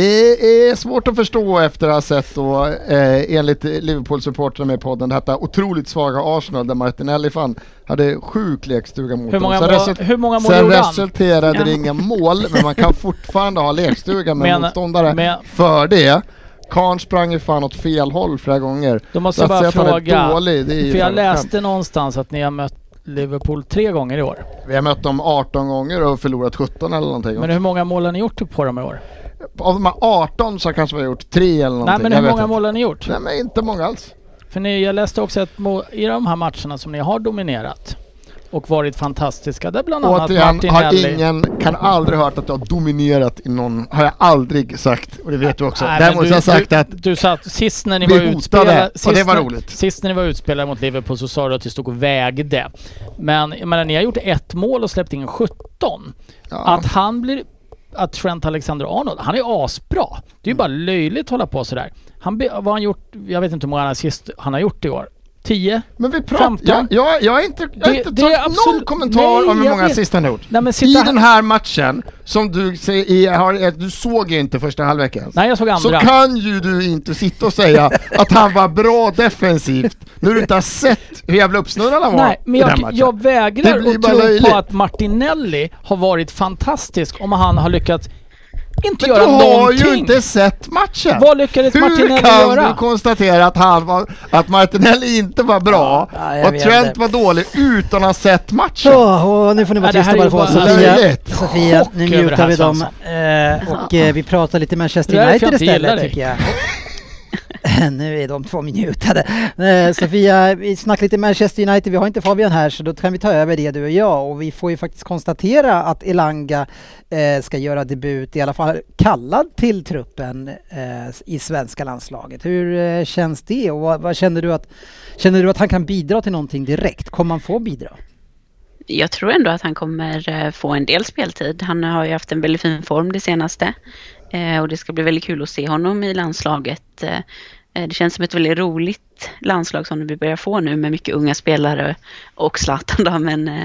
E: är svårt att förstå efter att ha sett då, eh, enligt Liverpool-supportrarna med i podden, detta otroligt svaga Arsenal där Martinelli fan hade sjuk lekstuga mot
D: Hur många,
E: dem.
D: mål,
E: Sen, resul-
D: hur många mål
E: sen
D: gjorde han?
E: resulterade det
G: Ja.
E: inga mål, men man kan fortfarande ha lekstuga med
D: Men-
E: motståndare.
D: men-
E: För det, Karn sprang ju fan åt fel håll flera gånger.
D: Då måste
E: Så
D: jag
E: att
D: bara
E: säga att han är
D: fråga.
E: dålig, det är
D: För
E: ju fan
D: jag
E: ett
D: läste någonstans att ni har mött Liverpool tre gånger i år.
E: skämt. Vi har mött dem 18 gånger och förlorat 17 eller någonting.
D: Men hur många mål har ni gjort på dem i år?
E: Av de här 18 så kanske vi har gjort 3 eller någonting.
D: Nej men
E: jag
D: hur
E: vet
D: många
E: inte.
D: mål har ni gjort?
E: Nej men inte många alls.
D: För ni, jag läste också att må, i de här matcherna som ni har dominerat och varit fantastiska, där bland annat
E: Återigen,
D: Martin
E: har
D: Nelly.
E: ingen, kan aldrig hört att jag har dominerat i någon, har jag aldrig sagt. Och det vet du också.
D: Nej, men
E: Däremot har jag sagt
D: du,
E: att
D: Du satt, sist när ni
E: Vi
D: var
E: hotade,
D: utspelade...
E: och
D: Sist,
E: det var
D: när-
E: roligt.
D: Sist när ni var utspelade mot Liverpool så sa du att du stod och vägde. Men jag menar, ni har gjort ett mål och släppt in 17.
E: ja,
D: Att han blir... Att Trent Alexander-Arnold, han är asbra. Det är ju bara löjligt att hålla på sådär. Han, be- vad har han gjort, jag vet inte hur många assist han har gjort i år. 10?
E: men vi pratar,
D: 15.
E: jag, jag, jag har inte, jag har
D: Det-
E: inte
D: det
E: tagit
D: är absolut-
E: någon kommentar
D: Nej,
E: om hur
D: jag
E: många
D: vet.
E: assist han har gjort.
D: Nej men
E: I
D: sitta
E: den här matchen, som du säger, i- har, du såg ju inte första halvlek ens.
D: Nej jag såg
E: Så
D: andra.
E: kan ju du inte sitta och säga att han var bra defensivt när du inte har sett hur jävla uppsnurrad han var
D: Nej, men
E: i den
D: jag,
E: matchen.
D: jag vägrar
E: Det blir
D: att
E: bara
D: tro
E: löjligt.
D: på att Martinelli har varit fantastisk om han har lyckats inte
E: Men du
D: göra
E: har
D: någonting.
E: ju inte sett matchen!
D: Vad lyckades
E: Hur
D: Martinelli
E: kan
D: göra?
E: du konstatera att, han var, att Martinelli inte var bra
C: Ja, jag
E: och
C: vet
E: Trent
C: det.
E: var dålig utan att ha sett matchen?
C: Åh, åh, nu får ni vara
D: Ja, det här
C: tysta
D: är
C: bara
D: ju
C: för oss.
D: bara-
C: Sofia,
E: Löjligt.
C: Sofia nu
D: Chock över det
C: mutar
D: här,
C: vi dem.
D: Svensson.
C: Eh, och eh, vi pratar lite
D: Det är
C: Manchester
D: därför
C: United
D: jag inte gillar
C: istället
D: dig.
C: tycker jag. nu är de två mutade. Eh, Sofia, vi snackar lite Manchester United. Vi har inte Fabian här så då kan vi ta över det du och jag. Och vi får ju faktiskt konstatera att Elanga eh, ska göra debut, i alla fall kallad till truppen eh, i svenska landslaget. Hur eh, känns det och vad, vad känner du att, känner du att han kan bidra till någonting direkt? Kommer han få bidra?
G: Jag tror ändå att han kommer eh, få en del speltid. Han har ju haft en väldigt fin form det senaste. Eh, Och det ska bli väldigt kul att se honom i landslaget. Eh, eh, Det känns som ett väldigt roligt landslag som vi börjar få nu med mycket unga spelare och Zlatan då. Men eh,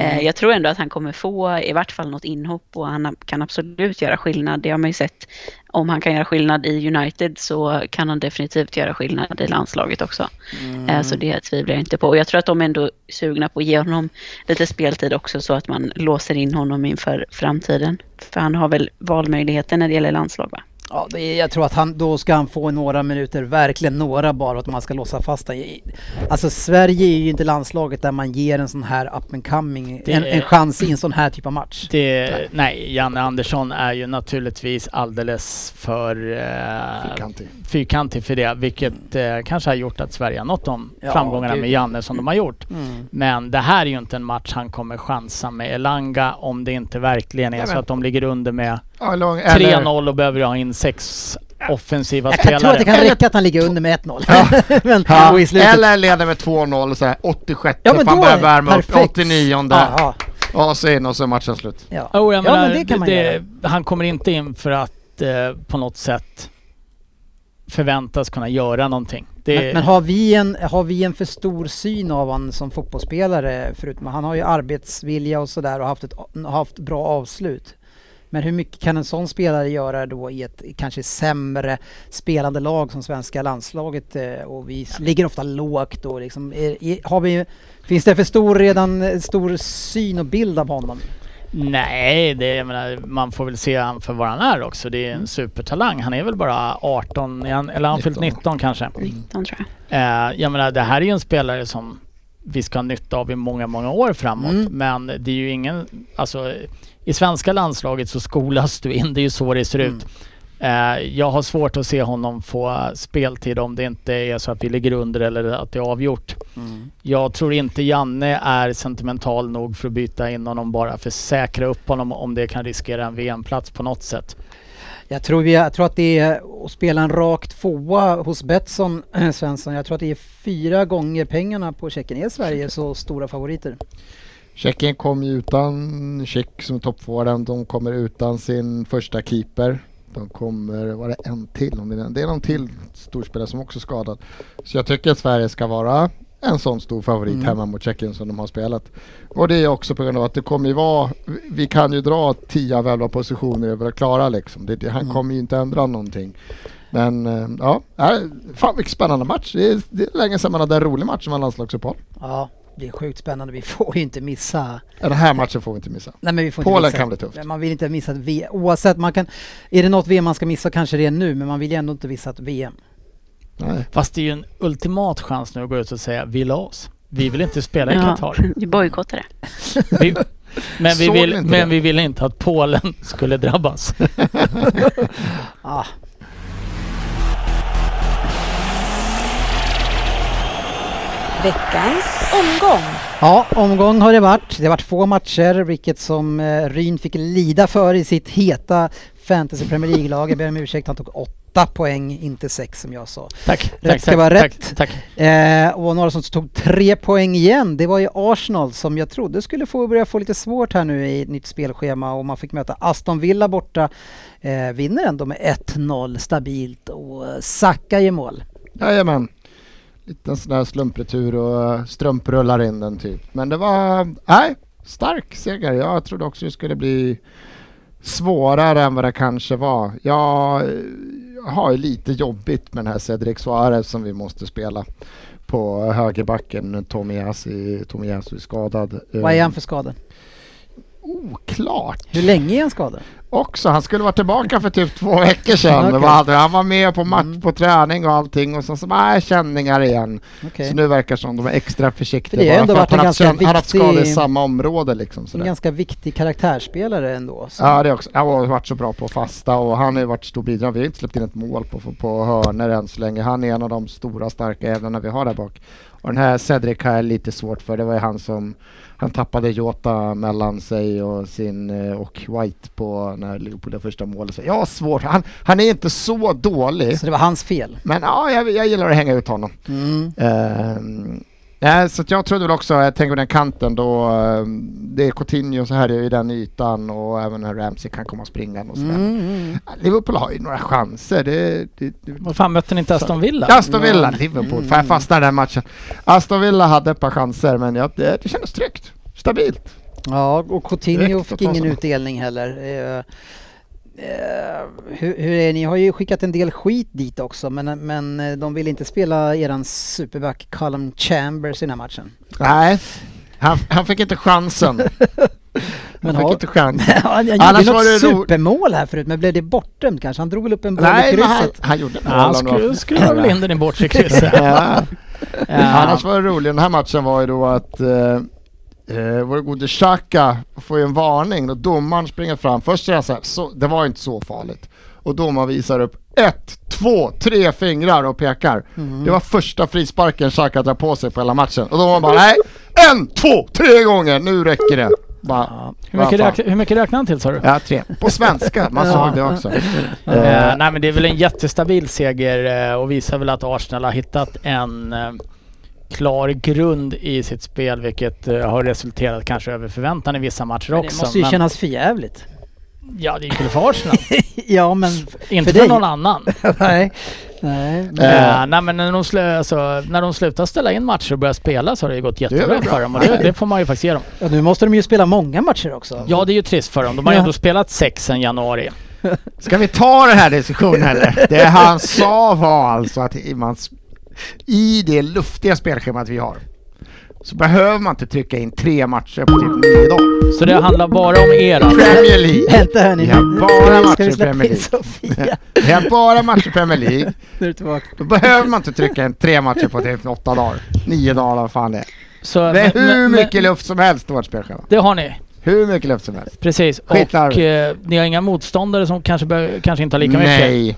G: eh, jag tror ändå att han kommer få i vart fall något inhopp och han kan absolut göra skillnad. Det har man ju sett. Om han kan göra skillnad i United så kan han definitivt göra skillnad i landslaget också. Eh, Så det tvivlar jag inte på. Och jag tror att de är ändå sugna på att ge honom lite speltid också så att man låser in honom inför framtiden. För han har väl valmöjligheter när det gäller landslag va?
C: Ja, det är, jag tror att han, då ska han få några minuter, verkligen några bara, att man ska låsa fast han. Alltså Sverige är ju inte landslaget där man ger en sån här up and coming,
D: Det
C: en,
D: är-
C: en chans i en sån här typ av match.
D: Det, nej, Janne Andersson är ju naturligtvis alldeles för eh,
E: Fyrkantig.
D: fyrkantig för det, vilket eh, kanske har gjort att Sverige har nått de
C: Ja,
D: framgångarna
C: gud.
D: med Janne som de har gjort.
C: Mm.
D: Men det här är ju inte en match han kommer chansa med Elanga om det inte verkligen är
E: Nej,
D: så
E: men-
D: att de ligger under med
E: Ja, lång- eller-
D: 3-0 och behöver ha in sex offensiva
C: Jag kan,
D: spelare.
C: tror att det kan räcka att han ligger under med 1-0. men,
E: Ja,
C: och i slutet.
E: eller leder med 2-0 så här 86
C: Ja, men
E: för han
C: då
E: börjar
C: är-
E: värma upp
C: perfekt.
E: 89
C: Jaha,
E: och så in och så är matchen slut.
C: ja.
D: Oh, jag
C: ja,
D: menar,
C: men det kan man göra.
D: Han kommer inte in för att eh, på något sätt förväntas kunna göra någonting. Det,
C: Men, men har, vi en, har vi en för stor syn av han som fotbollsspelare? Förutom, han har ju arbetsvilja och sådär och haft, ett, haft bra avslut. Men hur mycket kan en sån spelare göra då i ett kanske sämre spelande lag som svenska landslaget? eh, Och vi s- ligger ofta lågt då liksom. Är- är- Har vi, finns det för stor redan eh, stor syn och bild av honom?
D: Nej, det, jag menar, man får väl se han för vad han är också. Det
C: Mm.
D: är en supertalang. Han är väl bara 18, är han, eller har han fyllt
E: 19.
D: 19 kanske.
G: 19 tror jag.
D: Eh, jag menar, det här är ju en spelare som vi ska ha nytta av i många, många år framåt.
C: Mm.
D: Men det är ju ingen, alltså i svenska landslaget så skolas du in, det är ju så det ser ut. Eh, jag har svårt att se honom få speltid om det inte är så att vi ligger under eller att det är avgjort. Jag tror inte Janne är sentimental nog för att byta in honom bara för att säkra upp honom om det kan riskera en VM-plats på något sätt.
C: Jag tror, vi, jag tror att det är att spela en rak tvåa hos Betsson, Svensson. Jag tror att det är fyra gånger pengarna på checken. Är Sverige så stora favoriter?
E: Tjeckien kom ju utan Tjeck som toppforward. De kommer utan sin första keeper. De kommer, var det en till? Om det, är den? det är någon till storspelare som också är skadad. Så jag tycker att Sverige ska vara en sån stor favorit
C: Mm.
E: hemma mot Tjeckien som de har spelat. Och det är också på grund av att det kommer ju vara, vi kan ju dra tio av elva positioner över att klara liksom. Det, det, han
C: Mm.
E: kommer ju inte ändra någonting. Men eh, ja, äh, fan vilken spännande match. Det är, det är länge sedan man hade en rolig match som var landslagsuppehåll.
C: Ja, det är sjukt spännande. Vi får ju inte missa.
E: Den här matchen får vi inte missa.
C: Nej, men vi får
E: Polen
C: inte missa.
E: kan bli tufft.
C: Men Man vill inte missa ett VM. Oavsett, man kan... Är det något VM man ska missa kanske det är nu, men man vill ju ändå inte missa ett VM.
E: Nej.
D: Fast det är ju en ultimat chans nu att gå ut och säga vi la oss. Vi vill inte spela i Qatar.
G: vi bojkottar det.
D: Vi, men vi
E: Såg
D: vill,
E: ni inte
D: men
E: det?
D: vi vill inte att Polen skulle drabbas.
C: Ah.
H: Veckans omgång.
C: Ja, omgång har det varit. Det har varit få matcher, vilket som eh, Ryn fick lida för i sitt heta fantasy Premier League-lag. Jag ber om ursäkt, han tog åtta poäng, inte sex som jag sa.
D: Tack.
C: Rätt
D: tack,
C: ska
D: tack,
C: vara
D: tack,
C: rätt.
D: Tack.
C: Eh, och några som tog tre poäng igen, det var ju Arsenal som jag trodde skulle få börja få lite svårt här nu i ett nytt spelschema och man fick möta Aston Villa borta. Eh, vinner ändå med 1-0 stabilt och eh, Saka gör mål.
E: Jajamän. Liten sån där slumpretur och eh, strumprullar in den typ. Men det var, nej, stark seger. Jag trodde också det skulle bli svårare än vad det kanske var. Jag eh, har ju lite jobbigt med den här Cedric Suarez som vi måste spela på högerbacken. Tomiyasu Tomiyasu är skadad. Eh,
C: Vad är han för skada?
E: oklart.
C: Hur länge är han skadad?
E: Också, han skulle vara tillbaka för typ två veckor sedan.
C: Okej.
E: Vad hade- Han var med på match,
C: Mm.
E: på träning och allting och sen så bara, nej, känningar igen.
C: Okej.
E: Så nu verkar det som de är extra försiktiga.
C: För det har
E: bara
C: ändå
E: för att
C: varit en
E: han haft
C: ganska
E: känn- han har haft
C: viktig-
E: skador i samma område liksom.
C: En
E: Sådär.
C: ganska viktig karaktärsspelare ändå. Så.
E: Ja, det är också. Han har varit så bra på att fasta och han har ju varit stor bidrag. Vi har inte släppt in ett mål på, på hörner än så länge. Han är en av de stora starka ävlarna vi har där bak. Och den här Cedric har jag lite svårt för. Det var ju han som han tappade Jota mellan sig och sin eh, och White på när Liverpool gjorde första målet. Så jag har svårt. Han, han är inte så dålig.
C: Så det var hans fel.
E: Men ja, jag, jag gillar att hänga ut honom.
C: Mm.
E: Ehm, nej, så att jag trodde väl också, jag tänker på den kanten då, ehm, det är Coutinho så här i den ytan och även den här Ramsey kan komma springa och sådär.
C: Mm, mm.
E: Ja, Liverpool har ju några chanser. Det, det, det.
D: Vad fan mötte ni inte Aston Villa?
E: Aston Villa, Liverpool,
C: Mm.
E: fan jag fastnar i den här matchen. Aston Villa hade ett par chanser men jag, det, det kändes tryggt, stabilt.
C: Ja, och Coutinho
E: Direkt
C: fick
E: att ta
C: ingen
E: såna.
C: utdelning heller. Eh, eh, hur, hur är ni? har ju skickat en del skit dit också, men, men eh, de vill inte spela eran superback Callum Chambers i den här matchen.
E: Nej, han, han fick inte chansen. Han
C: Men
E: fick
C: har-
E: inte chansen.
C: Ja, Han gjorde
E: Annars
C: något
E: var det ro-
C: supermål här förut, men blev det bortdömt kanske? Han drog väl upp en boll i
E: Nej, men han,
C: krysset?
E: han gjorde
D: Ja, han skru- skruvade väl in den i bortre krysset.
E: Ja.
D: Ja.
E: Annars var det roligt, den här matchen var ju då att eh, eh, vår gode Xhaka får ju en varning och domaren springer fram. Först säger han så här, så, det var inte så farligt. Och domaren visar upp ett, två, tre fingrar och pekar. Det var första frisparken Xhaka drar på sig på hela matchen. Och domaren bara, nej, en, två, tre gånger, nu räcker det. Bara,
D: Hur mycket,
E: vad fan.
D: rök, hur mycket räknade han till sa du?
E: Ja, tre. På svenska, man såg det också. Eh,
D: Eh, nej men det är väl en jättestabil seger eh, och visar väl att Arsenal har hittat en eh, klar grund i sitt spel vilket eh, har resulterat kanske över förväntan i vissa matcher
C: Men
D: också.
C: det måste ju kännas förjävligt.
D: Ja det är kul för Arsenal.
C: ja, men...
D: Inte
C: För
D: för,
C: dig.
D: någon annan.
C: nej. nej. men-
E: Eh.
D: Eh, nej men när de, slö, alltså, när de slutar ställa in matcher och börjar spela så har det ju gått jättebra
E: väl bra.
D: för dem och det, det får man ju faktiskt ge dem.
C: Ja, nu måste de ju spela många matcher också.
D: Ja det är ju trist för dem. De har ju
C: Ja.
D: ändå spelat sex sedan januari.
E: Ska vi ta den här diskussionen eller? Det han sa var alltså att i man, i det luftiga spelschemat vi har så behöver man inte trycka in tre matcher på typ nio dagar.
D: Så det handlar bara om er alltså.
E: Premier League.
C: Vänta hörni,
E: Vi har
C: nu-
E: bara
C: ska vi-
E: matcher
C: ska vi
E: i
C: släppa
E: Premier
C: in
E: League.
C: Sofia?
E: Det är bara matcher i Premier League.
C: Nu är du tillbaka.
E: Då behöver man inte trycka in tre matcher på typ åtta dagar. Nio dagar, vad fan det är.
D: Så,
E: Det är
D: men-
E: hur
D: men-
E: mycket luft som helst i vårt spelschema.
D: Det har ni.
E: Hur mycket luft som helst.
D: Precis. Och
E: Skitlarvigt.
D: eh, ni har inga motståndare som kanske, bör, kanske inte har lika mycket.
E: Nej,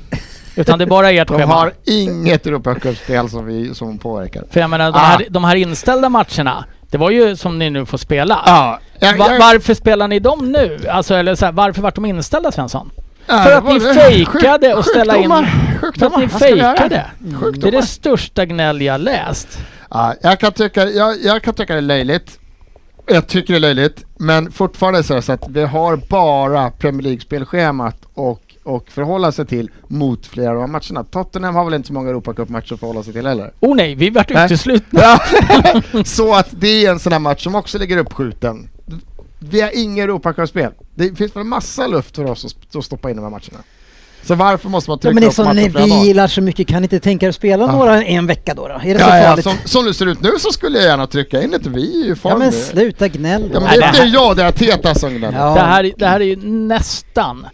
D: Utan det är bara ert
E: de
D: schema.
E: har inget Europacup-spel som, vi- som påverkar.
D: För jag menar, de,
E: Ah.
D: här, de här inställda matcherna, det var ju som ni nu får spela.
E: Ja, Ah. jag-
D: Va,
E: jag-
D: varför spelar ni dem nu? Alltså, eller så här, varför vart de inställda Svensson?
E: Ja,
D: För
E: Ah, det
D: att
E: var
D: ni
E: det.
D: fejkade
E: Sjuk-
D: och ställa in...
E: sjukdomar,
D: För att
E: Sjukdomar,
D: ni
E: vad ska vi göra? Mm.
D: fejkade. Det är det
E: Sjukdomar.
D: största gnäll jag läst.
E: Ja, jag, kan tycka, jag, jag kan tycka det är löjligt. Jag tycker det är löjligt, men fortfarande så, är det så att vi har bara Premier League-spelschemat och, och förhålla sig till mot flera av de här matcherna. Tottenham har väl inte så många Europacup-matcher att förhålla sig till heller?
D: Oh nej, vi vart
E: Nej.
D: uteslutna.
E: Ja.
D: Mm.
E: så att det är en sån här match som också ligger uppskjuten. Vi har inget Europacup-spel. Det finns väl en massa luft för oss att sp- att stoppa in de här matcherna. Så varför måste man
C: Ja,
E: trycka
C: men liksom, det är
E: upp
C: som
E: matchen
C: ni
E: flera dagar?
C: vilar så mycket, kan ni inte tänka er att spela
E: Ja.
C: några i en vecka då? då? Är det så
E: Ja, ja,
C: farligt?
E: som, som det ser ut nu så skulle jag gärna trycka in lite, vi är ju i form
C: Ja men
E: nu.
C: sluta gnäll
E: Ja,
C: då.
E: men
D: Nej,
E: det,
D: det
E: det är
D: här-
E: jag, det är Teta som gnäller.
C: Ja.
D: Det här, det här är ju nästan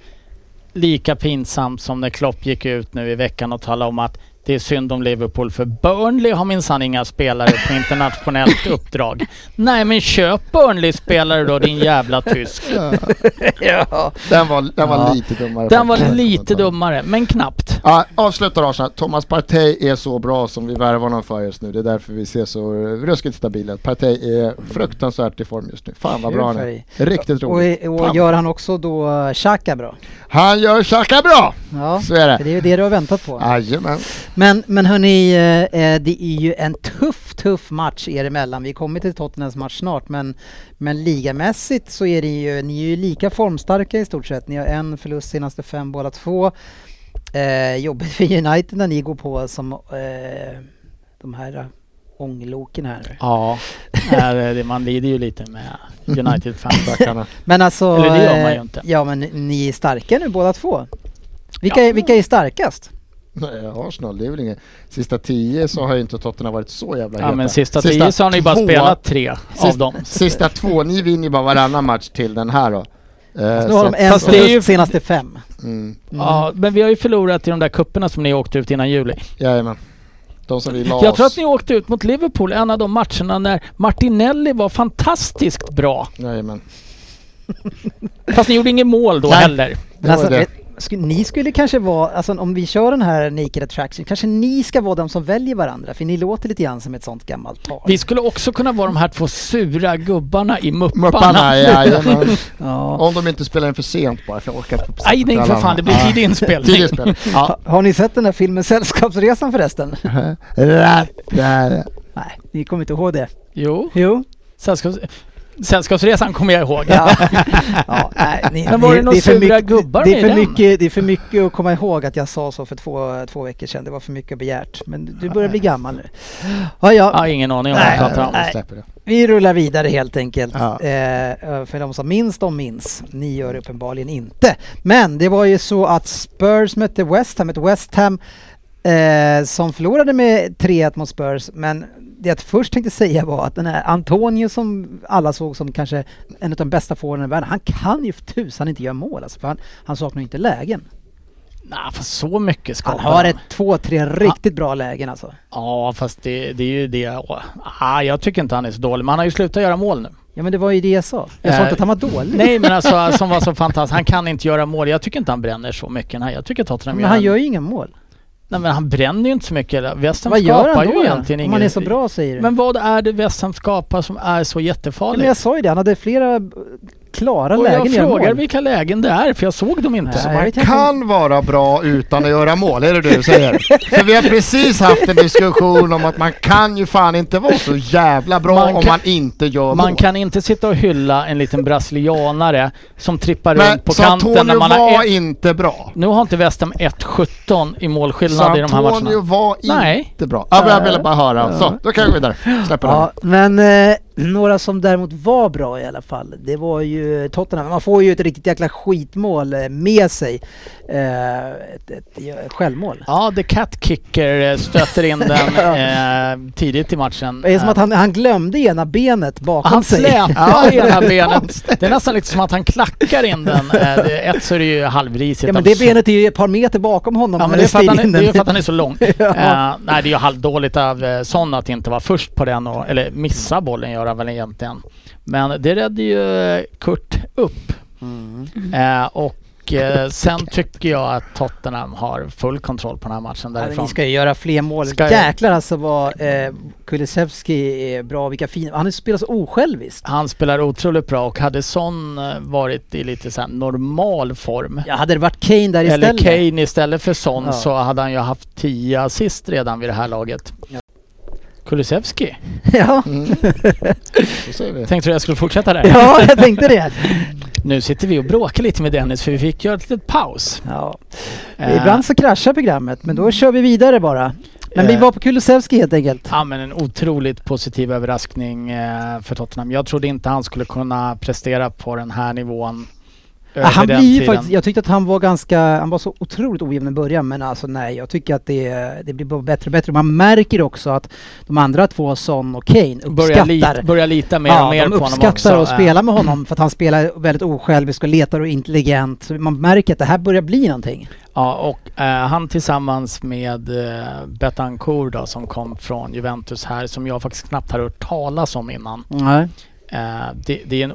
D: lika pinsamt som när Klopp gick ut nu i veckan och talade om att det är synd om Liverpool för Burnley har minsann inga spelare på internationellt uppdrag. Nej men köp Burnley-spelare då din jävla tysk.
C: Ja.
E: Den var, den var
C: Ja.
E: lite dummare.
D: Den var
E: faktiskt.
D: lite dummare, men knappt.
E: Ja, avslutar Arsenal. Thomas Partey är så bra som vi värvar honom för just nu. Det är därför vi ser så ruskigt stabila ut. Partey är fruktansvärt i form just nu. Fan vad bra han är. Riktigt
C: Och,
E: roligt.
C: och
E: Fan.
C: gör han också då eh, Xhaka bra?
E: Han gör Xhaka bra!
C: Ja,
E: Så är
C: för
E: det.
C: det är ju det du har väntat på.
E: Jajamän.
C: Men, men hörni, eh, eh, det är ju en tuff, tuff match er emellan. Vi kommer till Tottenhams match snart, men, men ligamässigt så är det ju, ni är ju lika formstarka i stort sett. Ni har en förlust senaste fem, båda två. Eh, jobbigt för United när ni går på som eh, de här eh, ångloken här.
D: Ja, nej, det- man lider ju lite med United-fans.
E: Stackarna.
C: Men alltså...
D: Eller det gör man ju
C: eh,
D: inte.
C: Ja men ni är starka nu båda två. Vilka, är, vilka är starkast?
E: Nej, Arsenal, det är väl inget. Sista tio så har ju inte Tottenham varit så jävla
D: Ja men sista tio så har ni bara
E: två-
D: spelat tre av
E: Sista-
D: dem.
E: Sista två, ni vinner ju bara varannan match till den här då. Eh,
C: Nu har de
E: så-
C: en
D: Fast det är
C: förlust
D: ju-
C: senaste fem.
E: Mm,
D: Ja, men vi har ju förlorat i de där kupperna som ni åkte ut innan juli.
E: jajamän. De som vi la
D: Jag tror
E: oss.
D: att ni åkte ut mot Liverpool en av de matcherna när Martinelli var fantastiskt bra.
E: Jajamän.
D: Fast ni gjorde inget mål då
E: Nej.
D: heller.
E: Det
C: Men
E: var
C: alltså,
E: det.
C: vet- sku, ni skulle kanske vara, alltså om vi kör den här Naked Attraction, kanske ni ska vara de som väljer varandra för ni låter lite grann som ett sånt gammalt par.
D: Vi skulle också kunna vara de här två sura gubbarna i Mupparna.
E: Mupparna, jajamän.
C: Ja.
E: Om de inte spelar in för sent bara, för jag orkar inte på
D: Nej, nej för fan, det blir tidig inspelning.
E: Tidig spel. Ja.
C: Ha, har ni sett den här filmen Sällskapsresan förresten?
E: Rattar.
C: Nej, ni kommer inte ihåg det.
D: Jo,
C: Jo.
D: sällskaps... Sällskapsresan kommer jag ihåg.
C: Ja. ja, nej, ni,
D: Men var det några
C: är för
D: sura
C: mycket-
D: gubbar
C: det är
D: med i
C: för
D: den?
C: mycket, Det är för mycket att komma ihåg att jag sa så för två, två veckor sedan. Det var för mycket begärt. Men du börjar bli gammal nu. Ja,
D: Jag har
C: ja,
D: ingen aning om vad
C: Nej,
D: jag pratar om.
C: nej.
E: släpper det.
C: vi rullar vidare helt enkelt.
E: Ja.
C: Eh, för de som minns, de minns. Ni gör det uppenbarligen inte. Men det var ju så att Spurs mötte West Ham. Ett West Ham eh, som förlorade med 3-1 mot Spurs. Men det jag först tänkte säga var att den här Antonio som alla såg som kanske en av de bästa forwarden i världen. Han kan ju för tusan inte göra mål alltså, för han, han saknar ju inte lägen.
D: Nej, fast så mycket skapar
C: Han har
D: de.
C: ett, två, tre riktigt bra lägen alltså.
D: Ja, fast det, det är ju det. Ah, jag tycker inte han är så dålig, men han har ju slutat göra mål nu.
C: Ja men det var ju det jag sa. Jag sa
D: Eh,
C: inte att han var dålig.
D: Nej, men alltså som var så fantastisk. Han kan inte göra mål. Jag tycker inte han bränner så mycket. Nej, jag tycker Tottenham
C: Men han
D: en-
C: gör ju inga mål.
D: Nej, men han bränner ju inte så mycket. Westham
C: Vad gör
D: skapar
C: han
D: ju
C: då?
D: egentligen
C: då? Om
D: inget.
C: han är så bra säger du?
D: Men vad är det Westham skapar som är så
C: Ja,
D: jättefarligt?
C: men jag sa ju det, han hade flera eh, klara
D: och
C: lägen
D: jag
C: i mål.
D: frågar vilka lägen det är, för jag såg dem inte.
C: Nej.
D: Så
C: jag
E: Man
C: vet inte.
E: kan vara bra utan att göra mål, är det det du säger? För vi har precis haft en diskussion om att man kan ju fan inte vara så jävla bra
D: Man kan-
E: om man inte gör
D: Man
E: mål.
D: kan inte sitta och hylla en liten brasilianare som trippar
E: Men
D: runt på
E: så
D: kanten när
E: Antonio
D: man har...
E: var
D: Ett...
E: inte bra.
D: Nu har inte Westham 1-17 i
E: Så
D: målskillnad i de här
E: Antonio
D: matcherna.
E: var
D: Nej.
E: inte bra. Ja, men jag ville bara höra. Så, då kan vi gå vidare. Släpper den.
C: Ja, men eh, några som däremot var bra i alla fall, det var ju Tottenham. Man får ju ett riktigt jäkla skitmål eh, med sig. Eh, ett, ett, ett självmål.
D: Ja, The Cat Kicker eh, stöter in den eh, tidigt i matchen.
C: Det är som
D: Eh,
C: att han, han glömde ena benet bakom
D: Han
C: sig.
D: släpar i det här benet. Det är nästan lite som att han klackar in den. Eh, det- Ett så är det ju halvrisigt.
C: Ja men
D: av
C: det
D: så-
C: benet är ju ett par meter bakom honom.
D: Ja,
C: när
D: men det, är för att han,
C: styr in
D: är- det är ju
C: den.
D: för att han är så lång.
C: Ja.
D: Eh, nej, det är ju halvdåligt av eh, Son att inte vara först på den, och, eller missa bollen gör han väl egentligen. Men det räddade ju eh, Kurt upp.
C: Mm.
D: Eh, och eh, sen tycker jag att Tottenham har full kontroll på den här matchen
C: Ja, men
D: därifrån.
C: ni ska ju göra fler mål.
D: Ska jag-
C: Jäklar alltså vad eh, Kulusevski är bra, vilka fina... Han spelar så osjälviskt.
D: Han spelar otroligt bra och hade Son eh, varit i lite så här normal form
C: Ja, hade det varit Kane där
D: Eller
C: istället.
D: Kane istället för Son
C: Ja.
D: så hade han ju haft 10 assist redan vid det här laget. Kulusevski.
C: ja,
E: Mm. Så säger vi.
D: Tänkte du jag skulle fortsätta där?
C: ja, jag tänkte det.
D: Nu sitter vi och bråkar lite med Dennis för vi fick göra ett litet paus.
C: Ja.
D: Eh,
C: Ibland så kraschar programmet, men då kör vi vidare bara. Men vi
D: Eh.
C: var på Kulusevski helt enkelt.
D: Ja men en otroligt positiv överraskning eh, för Tottenham. Jag trodde inte han skulle kunna prestera på den här nivån.
C: Ja,
D: över
C: han
D: den
C: blir ju
D: tiden.
C: faktiskt, jag tyckte att han var ganska, han var så otroligt ojämn i början men alltså nej, jag tycker att det, det blir bara bättre och bättre. Man märker också att de andra två, Son och Kane,
D: Börjar, li-
C: uppskattar
D: börjar lita mer
C: ja,
D: och mer
C: de
D: på honom också.
C: uppskattar att
D: Eh,
C: spela med honom för att han spelar väldigt osjälvisk och letar och intelligent. Så Man märker att det här börjar bli någonting.
D: Ja, och eh, han tillsammans med eh, Betancourt då, som kom från Juventus här, som jag faktiskt knappt har hört talas om innan.
C: Nej.
D: Eh, det, det är en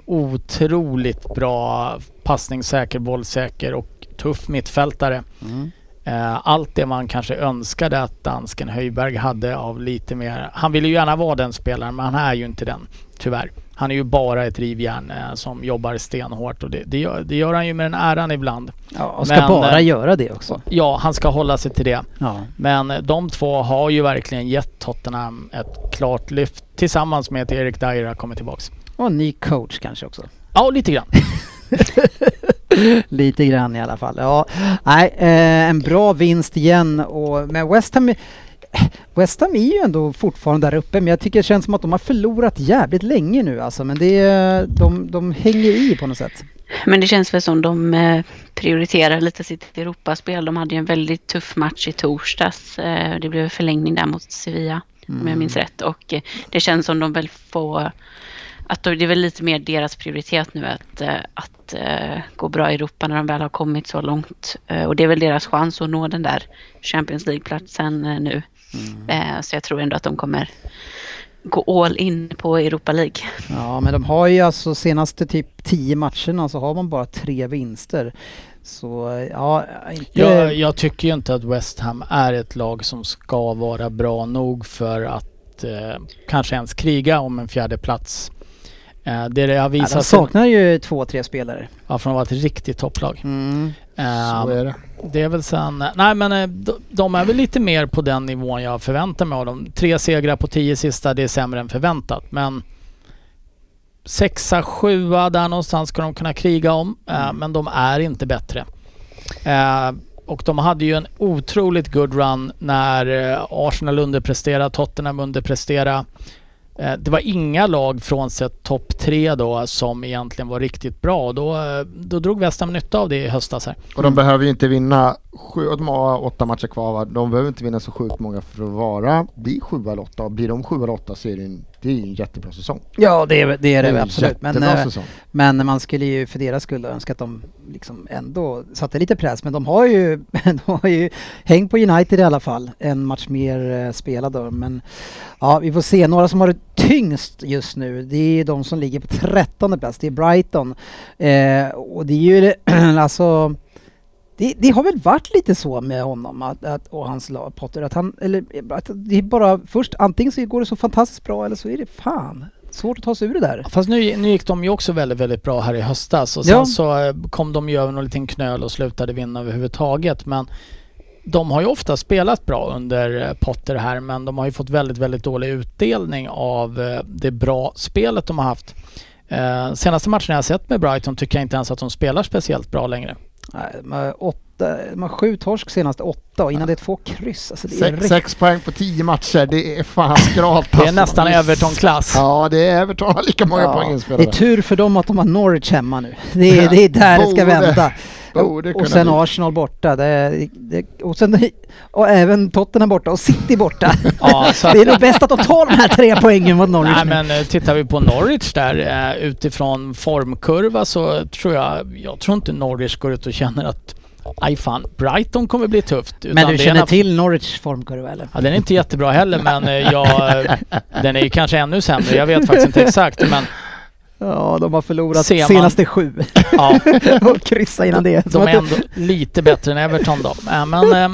D: otroligt bra passningssäker, bollsäker och tuff mittfältare.
C: Mm.
D: Eh, allt det man kanske önskade att dansken Höjberg hade av lite mer... Han ville ju gärna vara den spelaren, men han är ju inte den, tyvärr. Han är ju bara ett rivjärn eh, som jobbar stenhårt och det, det, gör, det gör han ju med den äran ibland.
C: Ja, och ska
D: Men,
C: bara
D: eh,
C: göra det också.
D: Ja, han ska hålla sig till det.
C: Ja.
D: Men eh, de två har ju verkligen gett Tottenham ett klart lyft tillsammans med att Erik Dyer har kommit tillbaks.
C: Och en ny coach kanske också.
D: Ja, lite grann.
C: Lite grann i alla fall. Ja, nej, eh, en bra vinst igen. Och, men West Ham, eh, West Ham är ju ändå fortfarande där uppe men jag tycker det känns som att de har förlorat jävligt länge nu alltså. Men det, är- de, de hänger i på något sätt.
G: Men det känns väl som de eh, prioriterar lite sitt Europaspel. De hade ju en väldigt tuff match i torsdags. Eh, Det blev förlängning där mot Sevilla, om jag minns rätt. Och eh, det känns som de väl får... Att de- det är väl lite mer deras prioritet nu att, eh, att eh, gå bra i Europa när de väl har kommit så långt. Eh, Och det är väl deras chans att nå den där Champions League-platsen eh, nu. Eh, Så jag tror ändå att de kommer gå all in på Europa League.
C: Ja, men de har ju alltså senaste typ 10 matcherna så har man bara tre vinster. Så ja, inte...
D: Jag, jag tycker ju inte att West Ham är ett lag som ska vara bra nog för att eh, kanske ens kriga om en fjärde plats. Eh, det har
C: ja, de
D: visat sig...
C: saknar ju två, tre spelare.
D: Ja, från att vara ett riktigt topplag.
C: Mm.
E: Så
D: Eh,
E: är det.
D: det är väl sen... Nej men eh, de, de är väl lite mer på den nivån jag förväntar mig av dem. Tre segrar på tio sista, det är sämre än förväntat men sexa, sjua där någonstans ska de kunna kriga om eh, men de är inte bättre. Eh, och de hade ju en otroligt good run när eh, Arsenal underpresterade, Tottenham underpresterade. Eh, Det var inga lag frånsett topp tre då som egentligen var riktigt bra. Då, eh, då drog West Ham nytta av det i höstas här.
E: Och de behöver ju inte vinna sju, och de har åtta matcher kvar va? De behöver inte vinna så sjukt många för att vara, bli sju eller åtta. Och Blir de sju eller åtta så är det, en, det är ju en jättebra säsong.
C: Ja, det är det, är det,
E: en
C: absolut. Men,
E: jättebra
C: eh,
E: säsong.
C: men man skulle ju för deras skull önska att de liksom ändå satte lite press. Men de har ju, de har ju häng på United i alla fall. En match mer eh, spelad då. Men ja, vi får se. Några som har det tyngst just nu, det är ju de som ligger på 13 plats. Det är Brighton. Eh, och det är ju alltså det, det har väl varit lite så med honom att, att, och hans lag, Potter, att han, eller att det är bara först antingen så går det så fantastiskt bra eller så är det fan svårt att ta sig ur det där.
D: Fast nu, nu gick de ju också väldigt, väldigt bra här i höstas och sen
C: Ja.
D: så eh, kom de ju över någon liten knöl och slutade vinna överhuvudtaget. Men de har ju ofta spelat bra under eh, Potter här men de har ju fått väldigt, väldigt dålig utdelning av eh, det bra spelet de har haft. Eh, senaste matchen jag har sett med Brighton tycker jag inte ens att de spelar speciellt bra längre.
C: Nej, de har åtta, de har sju torsk senaste åtta och innan det är två kryss. Alltså det är
E: Sex,
C: riktigt...
E: sex poäng på tio matcher, det är fan skralt
D: Det är
E: alltså.
D: nästan Everton-klass.
E: Ja, det är Everton har lika många poäng
C: det
E: inspelade.
D: typ-
C: är tur för dem att de har Norwich hemma nu. Det är, det är där det ska
E: Borde-
C: vända.
E: borde kunna
C: Och sen
E: Oh, bli.
C: Arsenal borta. Det, det, och, sen, och även Tottenham borta och City borta.
D: Ja, så
C: det är nog bäst att de tar de här tre poängen mot Norwich
D: Nej
C: nu.
D: men eh, tittar vi på Norwich där eh, utifrån formkurva så tror jag, jag tror inte Norwich går ut och känner att aj fan, Brighton kommer bli tufft. utan
C: Men
D: det
C: du
D: är
C: känner
D: en-
C: till Norwich formkurva eller?
D: Ja, den är inte jättebra heller men eh, jag, eh, den är ju kanske ännu sämre, jag vet faktiskt inte exakt men
C: Ja, de har förlorat
D: Ser man-
C: senaste sju
D: ja,
C: och kryssa innan det.
D: de
C: Som
D: är
C: att-
D: ändå lite bättre än Everton då. Eh, Men eh,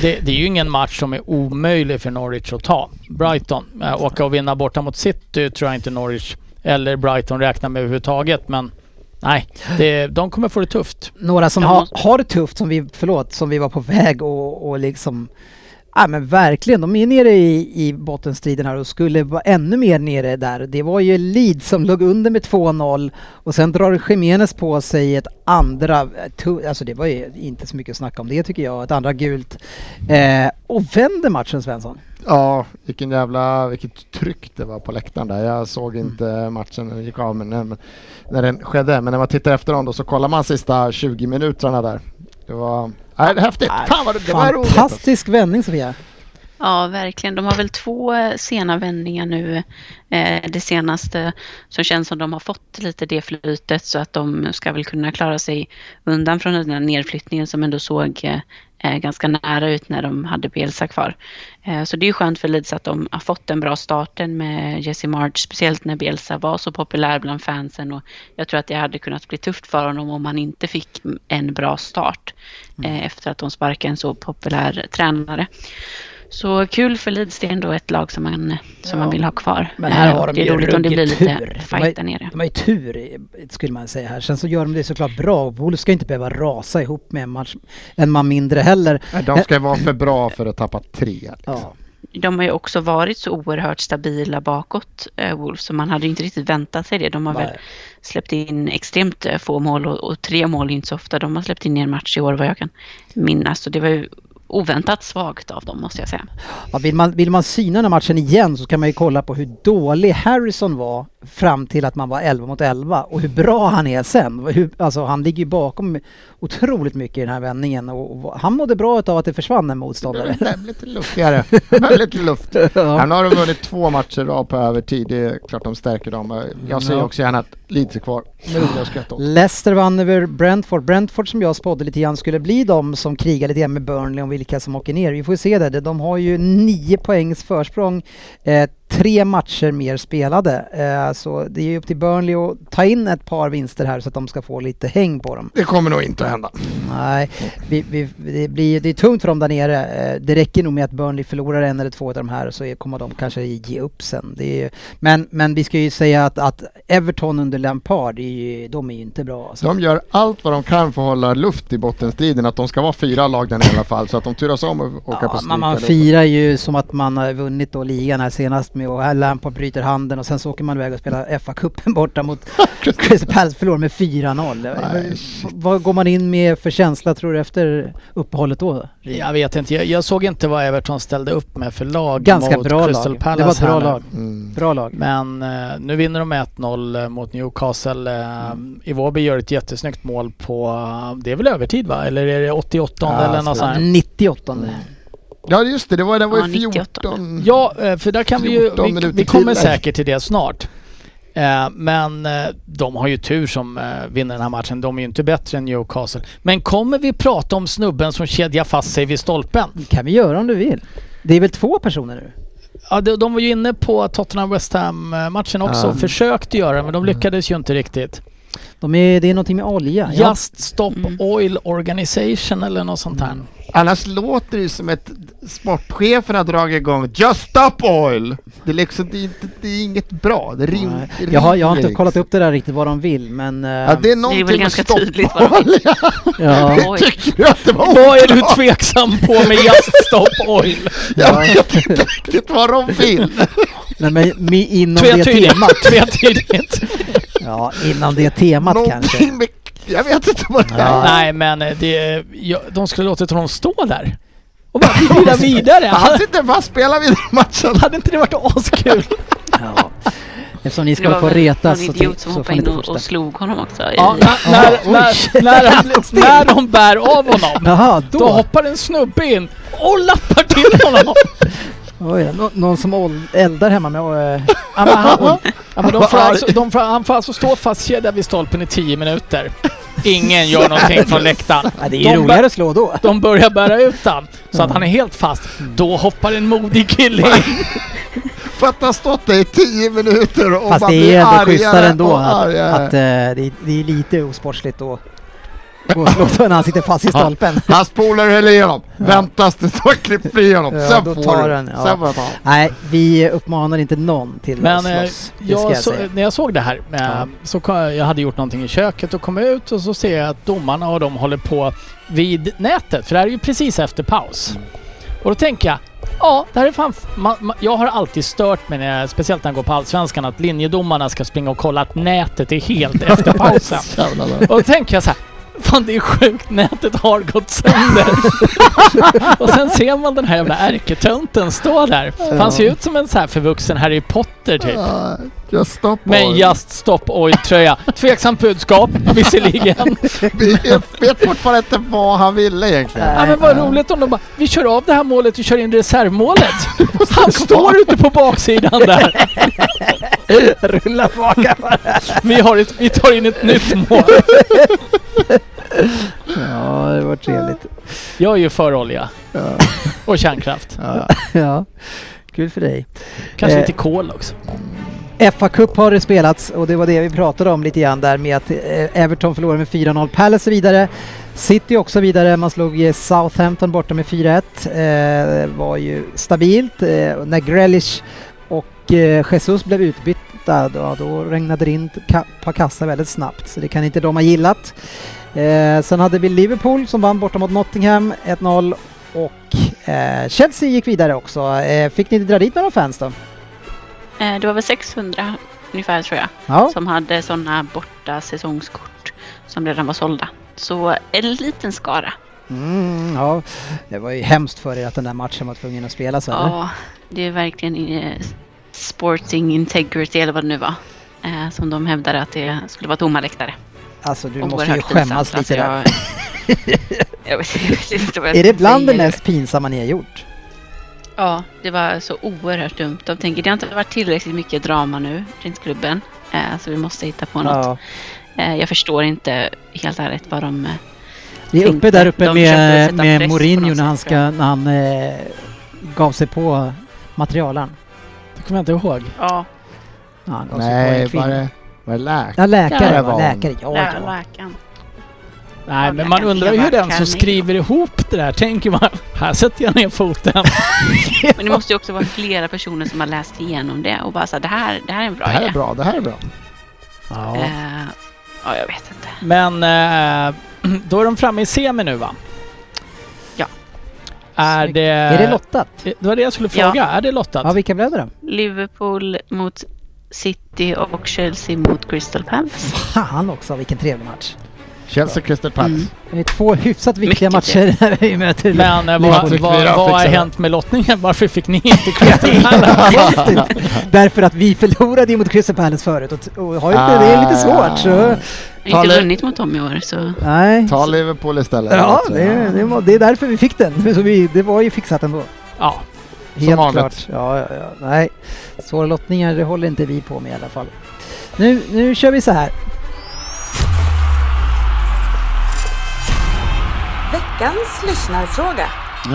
D: det, det är ju ingen match som är omöjlig för Norwich att ta. Brighton, eh, åka och vinna borta mot City tror jag inte Norwich eller Brighton räknar med överhuvudtaget men Nej, det, de kommer få det tufft.
C: några som
G: Jag
C: har,
G: måste-
C: har det tufft som vi, förlåt, som vi var på väg och, och liksom Ja men verkligen, de är nere i, i bottenstriden här och skulle vara ännu mer nere där. Det var ju Leeds som låg under med 2-0 och sen drar Jiménez på sig ett andra, tu- alltså det var ju inte så mycket att snacka om det tycker jag, ett andra gult. Eh, och vänder matchen Svensson.
E: Ja, vilken jävla, vilket tryck det var på läktaren där. Jag såg inte matchen när den gick av, men när, när den skedde. Men när man tittar efter dem då så kollar man sista 20 minuterna där. Det var, nej, det är häftigt. Fan vad det, det var roligt. alltså.
C: Fantastisk vändning Sofia.
G: Ja, verkligen. De har väl två eh, sena vändningar nu. Eh, det senaste som känns som de har fått lite det flytet så att de ska väl kunna klara sig undan från den här nedflyttningen som ändå såg eh, eh, ganska nära ut när de hade Bielsa kvar. Eh, så det är ju skönt för Leeds att de har fått den bra starten med Jesse March, speciellt när Bielsa var så populär bland fansen och jag tror att det hade kunnat bli tufft för honom om han inte fick en bra start eh, efter att de sparkade en så populär tränare. Så kul för Leeds, det är ändå ett lag som man, som man vill ha kvar.
C: Men här
G: Eh,
C: har
G: och
C: de
G: det är
C: ju
G: roligt om det blir
C: ruggig
G: lite
C: tur.
G: fight där nere.
C: De har ju tur, i- skulle man säga här. Sen så gör de det såklart bra. och Wolves ska inte behöva rasa ihop med en, match, en man mindre heller.
E: Nej, De ska ju vara för bra för att tappa tre.
C: Ja.
G: De har ju också varit så oerhört stabila bakåt, eh, Wolves, så man hade ju inte riktigt väntat sig det. De har väl
C: Nej.
G: släppt in extremt eh, få mål och, och tre mål är ju inte så ofta. De har släppt in i en match i år vad jag kan minnas. Så det var ju oväntat svagt av dem måste jag säga.
C: Ja, vill, man, vill man syna den här matchen igen så kan man ju kolla på hur dålig Harrison var fram till att man var 11 mot 11 och hur bra han är sen. Hur, alltså han ligger ju bakom otroligt mycket i den här vändningen och, och han mådde bra utav att det försvann en motståndare.
E: Det blev lite luftigare. Det blev lite luft. Han har de vunnit två matcher rad på övertid. Det är klart de stärker dem. Jag ser också gärna att Leeds är kvar. Nu vill jag skratta åt.
C: Leicester vann över Brentford. Brentford som jag spådde lite grann skulle bli de som krigar lite grann med Burnley om vilka som åker ner. Vi får ju se det. De har ju nio poängs försprång, eh, tre matcher mer spelade. Eh, så det är ju upp till Burnley att ta in ett par vinster här så att de ska få lite häng på dem.
E: Det kommer nog inte att hända.
C: Nej, vi, vi, det, blir, det är tungt för dem där nere. Eh, Det räcker nog med att Burnley förlorar en eller två av de här så är- kommer de kanske ge upp sen. Det är, ju- men, men vi ska ju säga att, att Everton under Lampard, det är ju, de är ju inte bra. Alltså.
E: De gör allt vad de kan för att hålla luft i bottenstriden. Att de ska vara fyra lag där nere i alla fall. Så att de turas om och åka på
C: Ja,
E: stryk.
C: man, man
E: allihopa.
C: firar ju som att man har vunnit då ligan här senast med och här Lampard bryter handen och sen så åker man iväg och spelar FA-cupen borta mot Crystal Palace förlorar med 4-0.
E: Nej,
C: Men Vad går man in med för känsla tror du efter uppehållet då?
D: Jag vet inte, jag, jag såg inte vad Everton ställde upp med för lag
C: Ganska
D: mot
C: bra
D: Crystal
C: lag.
D: Palace
C: Det var ett bra
D: här nu.
C: lag.
E: Mm.
C: Bra lag.
D: Men eh, nu vinner de med 1-0 mot Newcastle. Eh,
C: Mm.
D: Iwobi gör ett jättesnyggt mål på, äh, det är väl övertid va? Eller är det 88
E: Ja,
D: eller något
E: så-
D: sånt? här?
C: 98
E: Mm. Ja just det, det var, det var
G: Ja,
E: ju
G: 98.
E: 14.
D: Ja, eh, för där kan vi ju,
E: 14
D: vi,
E: minuter
D: vi kommer
E: till där.
D: säkert till det snart. Eh, Men eh, de har ju tur som eh, vinner den här matchen. De är ju inte bättre än Newcastle. Men kommer vi prata om snubben som kedjar fast sig vid stolpen?
C: kan vi göra om du vill. Det är väl två personer nu?
D: Ja, de, de var ju inne på Tottenham-West Ham-matchen också
E: Ja. Mm.
D: och försökte göra det men de lyckades ju inte riktigt.
C: De är, det är någonting med olja. Jag-
D: Just Stop
G: Mm.
D: Oil Organization eller något sånt
E: Mm.
D: här.
E: Annars låter det ju som ett sportchefen har dragit igång Just Stop Oil! Det är liksom, det är, inte, det är inget bra. Det rim,
C: Nej.
E: det
C: jag, har, jag har
E: rinner
C: inte kollat
E: liksom.
C: upp det där riktigt vad de vill men... eh,
E: Ja, det är någonting med
G: ganska
E: Stop
G: tydligt vad de
E: Oil.
C: ja.
G: Oj.
E: Tycker du att det var
D: Vad är du
E: oklart?
D: tveksam på med Just Stop Oil?
E: Jag vet inte riktigt vad de vill.
C: Nej, men mi- inom det
D: Tvetydigt.
C: temat.
D: Tvetydigt.
C: Ja, inom det temat kanske.
E: Någonting med, jag vet inte vad det
C: Ja.
E: är.
D: Nej men eh, det, ja, de skulle låtit honom stå där. Och bara glida vidare.
E: Han
D: Han,
E: sitter fast och spelar vidare matchen.
D: hade inte det varit askul?
C: Ja. Eftersom ni ska
G: Det
C: hålla
G: var
C: på och
G: väl någon
C: retas så,
G: idiot
C: till, så
G: som
C: får
G: hoppade
C: ni
G: in
C: inte
G: och, och
C: fortsätta.
G: slog honom också.
D: Ja,
G: I-
D: när, när, när, när, han- när de bär av honom.
C: Jaha,
D: Då
C: då.
D: hoppar en snubbe in och lappar till honom.
C: Oj, nå- någon som ol- eldar hemma med... eh,
D: Ja, men han, ja, men de får alltså, de får, han får alltså stå fastkedjad vid stolpen i 10 minuter. Ingen gör någonting från läktaren.
C: Ja, det är
D: De
C: ju
D: bör-
C: roligare att slå då.
D: De börjar bära ut han så att han är helt fast. Då hoppar en modig kille in.
E: För att ha stått där i tio minuter och
C: Fast
E: man
C: det
E: blir
C: är ändå
E: argare
C: schysstare ändå
E: och
C: att,
E: argare.
C: att eh, det, är- det är lite osportsligt då. Gå och slå på när han sitter fast i stolpen.
E: Hans polare höll igenom. Väntas det så klipper vi igenom.
C: Ja,
E: Sen
C: då
E: får
C: tar
E: du.
C: den, ja.
E: Sen får jag ta honom.
C: Nej, vi uppmanar inte någon till
D: Men
C: att
D: eh,
C: slåss. Det ska
D: jag
C: jag
D: så,
C: säga.
D: när jag såg det här, eh,
C: Ja.
D: så kom, jag hade gjort någonting i köket och kom ut och så ser jag att domarna och de håller på vid nätet, för det här är ju precis efter paus.
C: Mm.
D: Och då tänker jag, ja det här är fan... f- Man, man, jag har alltid stört mig, när jag, speciellt när jag går på Allsvenskan, att linjedomarna ska springa och kolla att nätet är helt efter pausen.
E: Jävlar.
D: Och då tänker jag så här. Fan det är sjukt, nätet har gått sönder. och sen ser man den här jävla ärketönten stå där. För Han ser ut som en så här förvuxen Harry Potter typ.
E: Ja, Just stop
D: Med en
E: oil.
D: Just Stop Oil-tröja. Tveksamt budskap, visserligen.
E: Vi vet fortfarande inte vad han ville egentligen.
D: Ja, men vad roligt om de bara, vi kör av det här målet, vi kör in reservmålet. Han står ute på baksidan där.
C: Rulla tillbaka bara.
D: Vi, har ett, vi tar in ett nytt mål.
C: Ja, det var trevligt.
D: Jag är ju för olja.
E: Ja.
D: Och kärnkraft.
E: Ja.
C: Ja, kul för dig.
D: Kanske
C: Eh.
D: lite kol också.
C: FA Cup har det spelats och det var det vi pratade om lite grann där med att eh, Everton förlorade med 4-0, Palace är vidare. City också vidare, man slog eh, Southampton borta med 4-1. Eh, var ju stabilt. Eh, och när Grealish och eh, Jesus blev utbytta då, då regnade det in ka- på kassa väldigt snabbt så det kan inte de ha gillat. Eh, sen hade vi Liverpool som vann borta mot Nottingham 1-0 och eh, Chelsea gick vidare också. Eh, fick ni dra dit några fans då?
G: eh, Det var väl 600 ungefär tror jag.
C: Ja.
G: som hade sådana borta säsongskort som redan var sålda. Så en liten skara.
C: Mm, ja. Det var ju hemskt för er att den där matchen var tvungen att spelas eller?
G: Ja, det är verkligen eh, sporting integrity eller vad det nu var. eh, som de hävdade att det skulle vara tomma läktare.
C: Alltså du
G: Oerhört
C: måste ju
G: pinsamt.
C: skämmas
G: Alltså,
C: lite där.
G: jag- Jag vet, jag vet inte vad jag
C: Är det
G: ska
C: bland det
G: säga.
C: mest pinsamma ni har gjort?
G: Ja, det var så oerhört dumt. De tänker det har inte varit tillräckligt mycket drama nu runt klubben. Eh, så vi måste hitta på något.
C: Ja.
G: Eh, jag förstår inte helt ärligt vad de... Eh,
C: Vi är uppe
G: Tänkte
C: där
G: att
C: uppe
G: de försökte
C: med,
G: sätta
C: med
G: press på
C: Mourinho
G: något
C: när han,
G: sätt,
C: ska, när han eh, gav sig på materialen.
D: Det kommer jag inte ihåg.
G: ja,
C: Ja, han gav sig på
E: Nej,
C: en
E: var
C: kvinna.
E: Alltså, det, var det läkare?
C: Ja, läkare
E: Där
C: var
E: var
C: läkare. Ja,
G: lä-
C: ja.
G: läkaren.
D: Nej, men
G: Jävla
D: man undrar ju hur
G: Eva
D: den som
G: Carneiro.
D: skriver ihop det där tänker man, här sätter jag ner foten.
G: Men det måste ju också vara flera personer som har läst igenom det och bara så här, det här, det här är en bra
E: Det här är
G: idé.
E: bra, det här är bra.
D: Ja.
G: Eh, ja, jag vet inte.
D: Men eh, då är de framme i semi nu va?
G: Ja.
D: Är
C: Snyggt.
D: det...
C: Är det lottat?
D: Eh, Det var det jag skulle
G: Ja.
D: fråga. Är det lottat?
C: Ja, vilka blev det då?
G: Liverpool mot City och Chelsea mot Crystal Palace.
C: Fan också, vilken trevlig match.
E: Chelsea Crystal Palace.
G: Mm.
C: Det är två hyfsat viktiga
G: Mycket
C: matcher när vi möter
D: Men eh,
E: Liverpool
D: vad,
E: fick
D: vad,
E: fyra,
D: vad har
E: fixade.
D: hänt med lottningen? Varför fick ni inte Crystal Palace?
C: Konstigt. Därför att vi förlorade ju mot Crystal Palace förut och, och har ju inte, det är lite svårt så...
G: Vi
E: Talar-
G: har inte vunnit mot dem i år så...
C: Nej.
E: Ah. Ta Liverpool istället. Alltså,
C: Ja, det, det, var- det är därför vi fick den. Så vi, det var ju fixat ändå.
D: Ja.
C: Helt
E: vanligt.
C: klart. Ja, ja, ja. Nej, svåra lottningar det håller inte vi på med i alla fall. Nu, nu kör vi så här.
H: Veckans lyssnarfråga.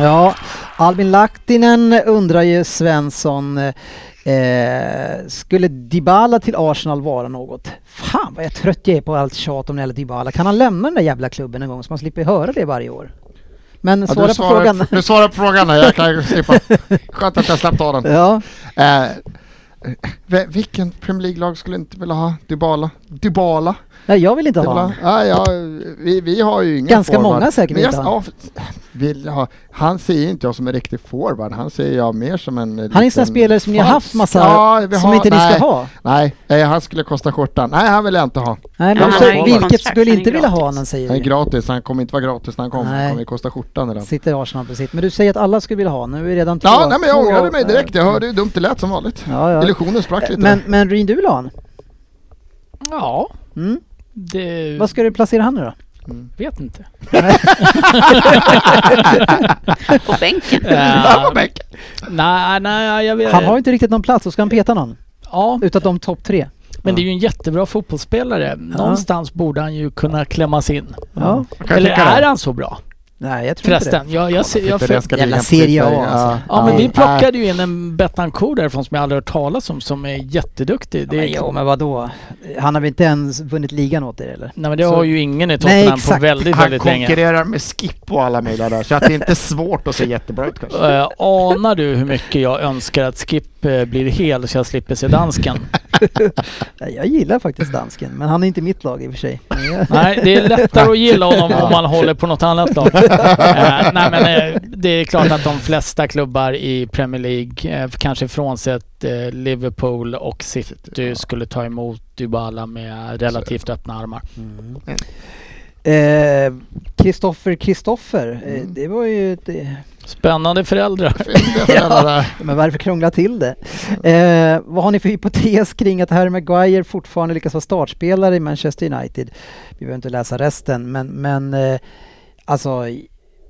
C: Ja, Albin Lahtinen undrar ju Svensson, eh, skulle Dybala till Arsenal vara något? Fan vad jag är trött jag är på allt tjat om den jävla Dybala. Kan han lämna den där jävla klubben en gång så man slipper höra det varje år? Men
E: Ja,
C: svara
E: du,
C: på frågan.
E: svarar, du svarar på frågan, här, jag kan ju slippa. Skönt att jag slapp ta den.
C: Ja,
E: Eh, vi- vilken Premier League-lag skulle inte vilja ha Dybala? Dybala?
C: nej jag vill inte ha
E: Dybala.
C: honom.
E: Nej, ja, vi, vi har ju ingen
C: Ganska
E: forward.
C: många säkert
E: Men jag,
C: vill
E: ja, f- vill ha. Han ser ju inte jag som en riktig forward, han ser jag mer som en
C: Han är en sån där spelare som ni har haft massa, som inte ni ska ha.
E: Nej, eh, han skulle kosta skjortan. Nej, han vill jag inte ha.
C: Nej,
E: Han
C: men
E: har
C: så,
E: ju
C: vilket
G: kontrakt,
C: skulle
G: han är
C: inte vilja ha
G: gratis.
C: honom säger
E: Han är
C: du?
E: gratis, han kommer inte vara gratis när han kommer.
C: Nej.
E: Han kommer ju kosta skjortan idag.
C: Sitter Arsenal precis, men du säger att alla skulle vilja ha honom. Nu är vi redan två.
E: Ja, nej, men jag
C: två-
E: ångrade mig direkt. Jag hörde hur dumt det lät som vanligt.
C: Ja, ja.
E: Illusionen sprack lite.
C: Men, men Ryn, du vill ha honom?
D: Ja.
C: Mm.
D: Det
C: Vad ska du placera han nu då?
D: vet inte.
G: På bänken.
E: Där
D: Eh,
E: var Beck.
D: nej, nej, jag vet
C: Han har ju inte riktigt någon plats, så ska han peta någon?
D: Ja,
C: Utav de topp tre?
D: men det är ju en jättebra fotbollsspelare. Någonstans borde han ju kunna klämmas in.
C: Ja.
E: kan
D: Eller
E: tycka det.
D: är han så bra?
C: Nej, jag tror inte
D: Förresten, jag, jag, ser- jag,
E: Inte
D: för,
E: den ska
C: jävla
E: ligga på
C: Serie A,
E: Twitter.
C: alltså.
D: Ja men
C: Ja.
D: vi plockade ju in en Betancourt därifrån som jag aldrig hört talas om som är jätteduktig.
C: det.
D: Det,
C: Men, jo, men vadå? Han har väl inte ens vunnit ligan åt er eller?
D: nej men det
C: så-
D: har ju ingen i
C: Nej,
D: Tottenham på
C: exakt.
D: väldigt,
E: Han
D: väldigt länge.
E: konkurrerar med Skip och alla möjliga där, så att det är inte svårt att se jättebra ut kanske.
D: Eh, anar du hur mycket jag önskar att Skip eh, blir hel så jag slipper se dansken?
C: Nej, Jag gillar faktiskt dansken, men han är inte mitt lag i och för sig. Men jag-
D: Nej, det är lättare att gilla honom om man håller på något annat lag. Eh, nej, men eh, det är klart att de flesta klubbar i Premier League, eh, kanske frånsett eh, Liverpool och City, skulle ta emot Dybala med relativt öppna armar.
E: Mm.
C: Eh, Kristoffer Kristoffer, eh,
E: Mm.
C: det var ju... ett, eh,
D: Spännande föräldrar.
E: ja.
C: Men varför krångla till det? Eh, vad har ni för hypotes kring att Harry Maguire fortfarande lyckas vara startspelare i Manchester United? Vi behöver inte läsa resten, men, men eh, alltså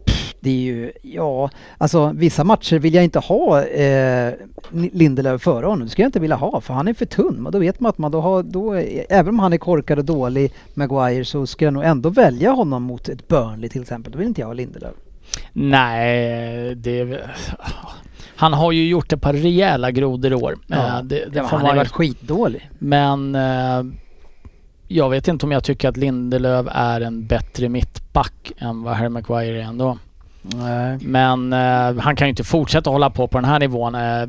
C: pff, det är ju, ja, alltså vissa matcher vill jag inte ha eh, Ni- Lindelöf före honom. Det skulle jag inte vilja ha för han är för tunn. Och då vet man att man då har, då, är- även om han är korkad och dålig, Maguire, så ska jag nog ändå välja honom mot ett Burnley till exempel. Då vill inte jag ha Lindelöf.
D: Nej, det... är väl- Han har ju gjort ett par rejäla grodor i år. Eh, det, det får
C: han
D: man
C: har
D: ju-
C: varit skitdålig.
D: Men eh, jag vet inte om jag tycker att Lindelöf är en bättre mittback än vad Harry Maguire är ändå.
C: Nej.
D: Men eh, han kan ju inte fortsätta hålla på på den här nivån. Eh,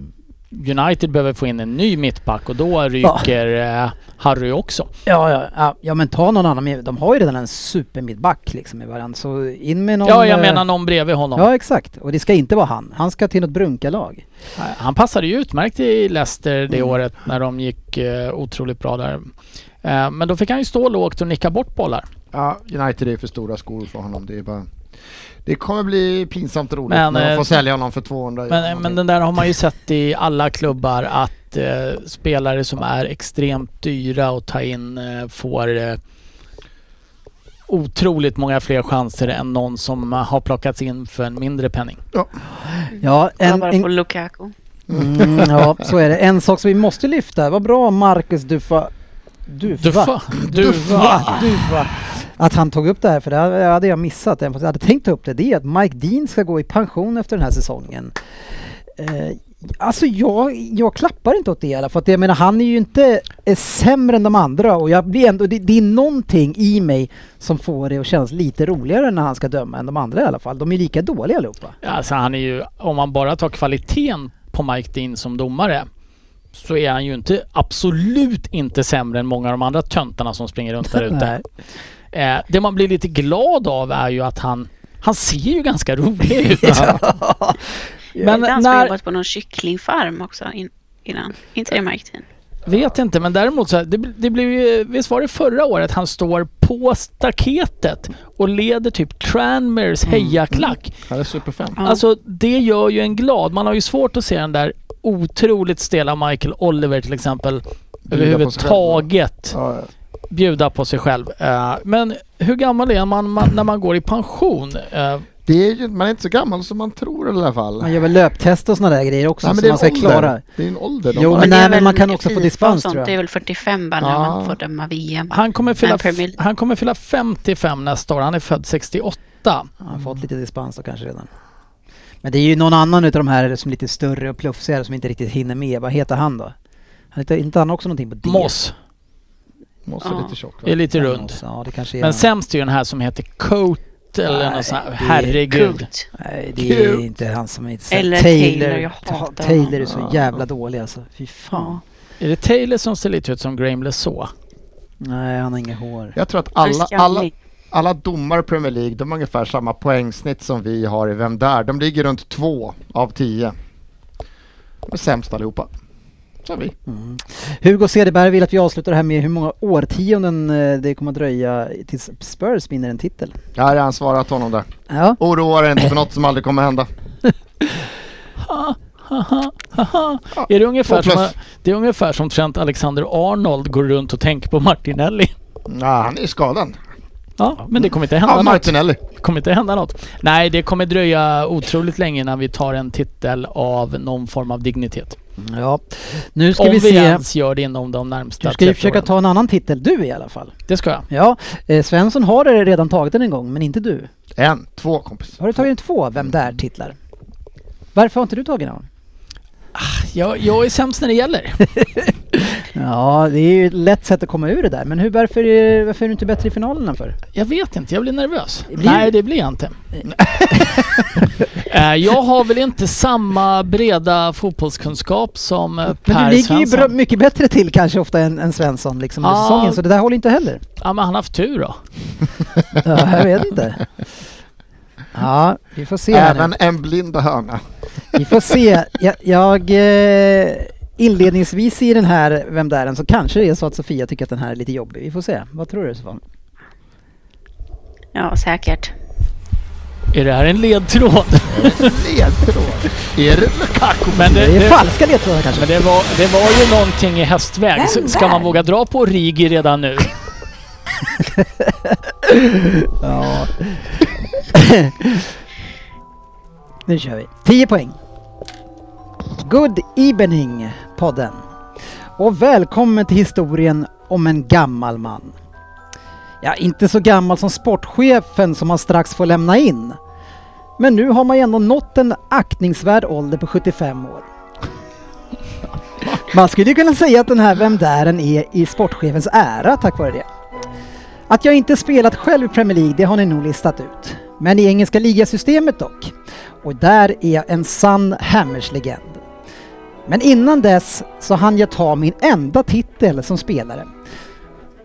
D: United behöver få in en ny mittback och då ryker eh, Harry också.
C: Ja, ja, ja, ja, men ta någon annan. med- De har ju redan en supermittback liksom i varandra. Så in med någon...
D: Ja, jag
C: eh,
D: menar någon bredvid honom.
C: Ja, exakt. Och det ska inte vara han. Han ska till något brunkalag.
D: Nej, Eh, Han passade ju utmärkt i Leicester
C: Mm.
D: det året när de gick eh, otroligt bra där. Eh, men då fick han ju stå lågt och nicka bort bollar.
E: ja, United är för stora skor för honom. Det är bara... Det kommer bli pinsamt roligt
D: Men,
E: när de
D: eh,
E: får sälja honom för 200
D: Men, men den där har man ju sett i alla klubbar att eh, spelare som är extremt dyra att ta in eh, får eh, otroligt många fler chanser än någon som har plockats in för en mindre penning.
C: Ja,
G: Kolla
C: en,
G: bara
C: en,
G: på Lukaku.
C: mm, ja, så är det. En sak som vi måste lyfta. Vad bra Marcus Duffa... Duva.
D: Duffa! Duffa!
C: Duva. Duva. Att han tog upp det här, för det hade jag missat. Jag hade tänkt ta upp det. Det är att Mike Dean ska gå i pension efter den här säsongen. Eh, alltså jag, jag klappar inte åt det i alla fall. För att jag menar, han är ju inte eh, sämre än de andra och jag blir ändå, det, det är någonting i mig som får det att kännas lite roligare när han ska döma än de andra i alla fall. De är lika dåliga allihopa.
D: Alltså han är ju, om man bara tar kvaliteten på Mike Dean som domare så är han ju inte, absolut inte sämre än många av de andra töntarna som springer runt där ute.
C: Nej.
D: Eh, det man blir lite glad av är ju att han, han ser ju ganska rolig ut. Men
G: Men han har
D: när,
G: jobbat på någon kycklingfarm också in, innan. inte det Mike Dean?
D: vet inte, men däremot så här, det, det blev ju, visst var det förra året han står på staketet och leder typ Tranmers hejaklack.
E: Han är superfan.
G: Ja.
D: Alltså det gör ju en glad. Man har ju svårt att se den där otroligt stela Michael Oliver till exempel
E: Bjuda på sig själv.
D: överhuvudtaget
E: Ja, ja.
D: bjuda på sig själv. Eh, Men hur gammal är man, man när man går i pension? Eh,
E: Det är ju, man är inte så gammal som man tror i alla fall.
C: Man gör väl löptest och sådana där grejer också
E: Nej, men
C: som
E: det, är
C: man ska
E: en ålder.
C: klara.
E: det är en ålder. de
C: Jo,
E: har.
C: men
G: det är
C: nej, men
G: väl
C: man kan också få
G: FIFA och
C: dispens,
G: sånt.
C: tror jag.
G: Det är väl 45 bara när
E: Ja.
G: man får döma VM.
D: Han kommer, fylla,
G: Men Premier League.
D: han kommer fylla 55 nästa år. Han är född 68.
C: Han har fått lite dispens då kanske redan. Men det är ju någon annan utav de här som är lite större och plufsigare som inte riktigt hinner med. Vad heter han då? Han heter inte han också någonting på D?
D: Moss
E: Måste
G: Ja.
E: lite tjock. va?
D: är lite rund.
C: Moss, Ja, det kanske är
D: Men
C: han.
D: sämst är ju den här som heter Coat eller
C: Nej,
D: något sånt här.
C: det är
D: Herregud.
G: Coolt.
C: Nej, det är
E: Cute.
C: inte han som är inte
G: Eller Taylor, jag hatar
C: Taylor är
G: honom.
C: så jävla dålig alltså. Fy fan.
D: Är det Taylor som ser lite ut som Graham LeSaux?
C: Nej, han har inga hår.
E: Jag tror att alla,
G: Christian
E: alla,
G: Link.
E: alla domare i Premier League, de har ungefär samma poängsnitt som vi har i Vem Där? De ligger runt två av tio. De är sämst allihopa. Så vi.
C: Hugo Cederberg vill att vi avslutar det här med hur många årtionden eh, det kommer att dröja tills Spurs vinner en titel.
E: Jag har redan svarat honom där.
C: Ja.
E: Oroa dig inte för något som aldrig kommer hända.
D: Är det, ungefär
E: två
D: som,
E: plus.
D: det är ungefär som Trent Alexander-Arnold går runt och tänker på Martinelli.
E: Nej, han är ju skadad.
D: Ja, men det kommer inte hända
E: Ja,
D: något.
E: Martinelli.
D: Det kommer inte hända något. Nej, det kommer dröja otroligt länge innan vi tar en titel av någon form av dignitet.
C: ja. Nu ska
D: Mm. Om
C: vi
D: vi,
C: se.
D: ens gör det inom de
C: Du
D: närmsta
C: ska ju
D: 30
C: försöka
D: åren.
C: ta en annan titel, du i alla fall.
D: Det ska jag.
C: Ja, eh, Svensson har redan tagit den en gång, men inte du.
E: En, två kompis.
C: Har du tagit två Vem Där-titlar? Varför har inte du tagit någon?
D: jag. Jag är sämst när det gäller.
C: Ja, det är ju ett lätt sätt att komma ur det där. Men hur, varför, är- varför är du inte bättre i finalerna för?
D: Jag vet inte, jag blir nervös.
C: Blir-
D: Nej, det blir jag inte. Eh, jag har väl inte samma breda fotbollskunskap som eh,
C: Men
D: Per
C: du ligger ju
D: Svensson.
C: bra, mycket bättre till kanske ofta än, än Svensson liksom under
D: Ja.
C: säsongen, så det där håller inte heller.
D: Ja, men han har haft tur då.
C: Ja, jag vet inte. Ja, vi får se. här nu.
E: Även en blind hörna.
C: Vi får se. Jag, jag eh, inledningsvis i den här Vem där än så kanske det är så att Sofia tycker att den här är lite jobbig. Vi får se. Vad tror du Sofia?
G: Ja, säkert.
D: Är det här en ledtråd?
E: Ledtråd. Är det Lukaku?
D: Men det,
C: Det är
D: det,
C: falska ledtrådar kanske.
D: men det, var, det var ju någonting i hästväg. S-
A: Vem
D: Ska man
A: där?
D: våga dra på Rigi redan nu?
C: Ja. nu kör vi. 10 poäng. Good evening podden. Och välkommen till historien om en gammal man. Ja, inte så gammal som sportchefen som man strax får lämna in. Men nu har man ju ändå nått en aktningsvärd ålder på 75 år. Man skulle ju kunna säga att den här Vem Dären är i sportchefens ära tack vare det. Att jag inte spelat själv i Premier League, det har ni nog listat ut. Men i engelska ligasystemet dock. Och där är jag en sann Hammers-legend. Men innan dess så hann jag ta min enda titel som spelare.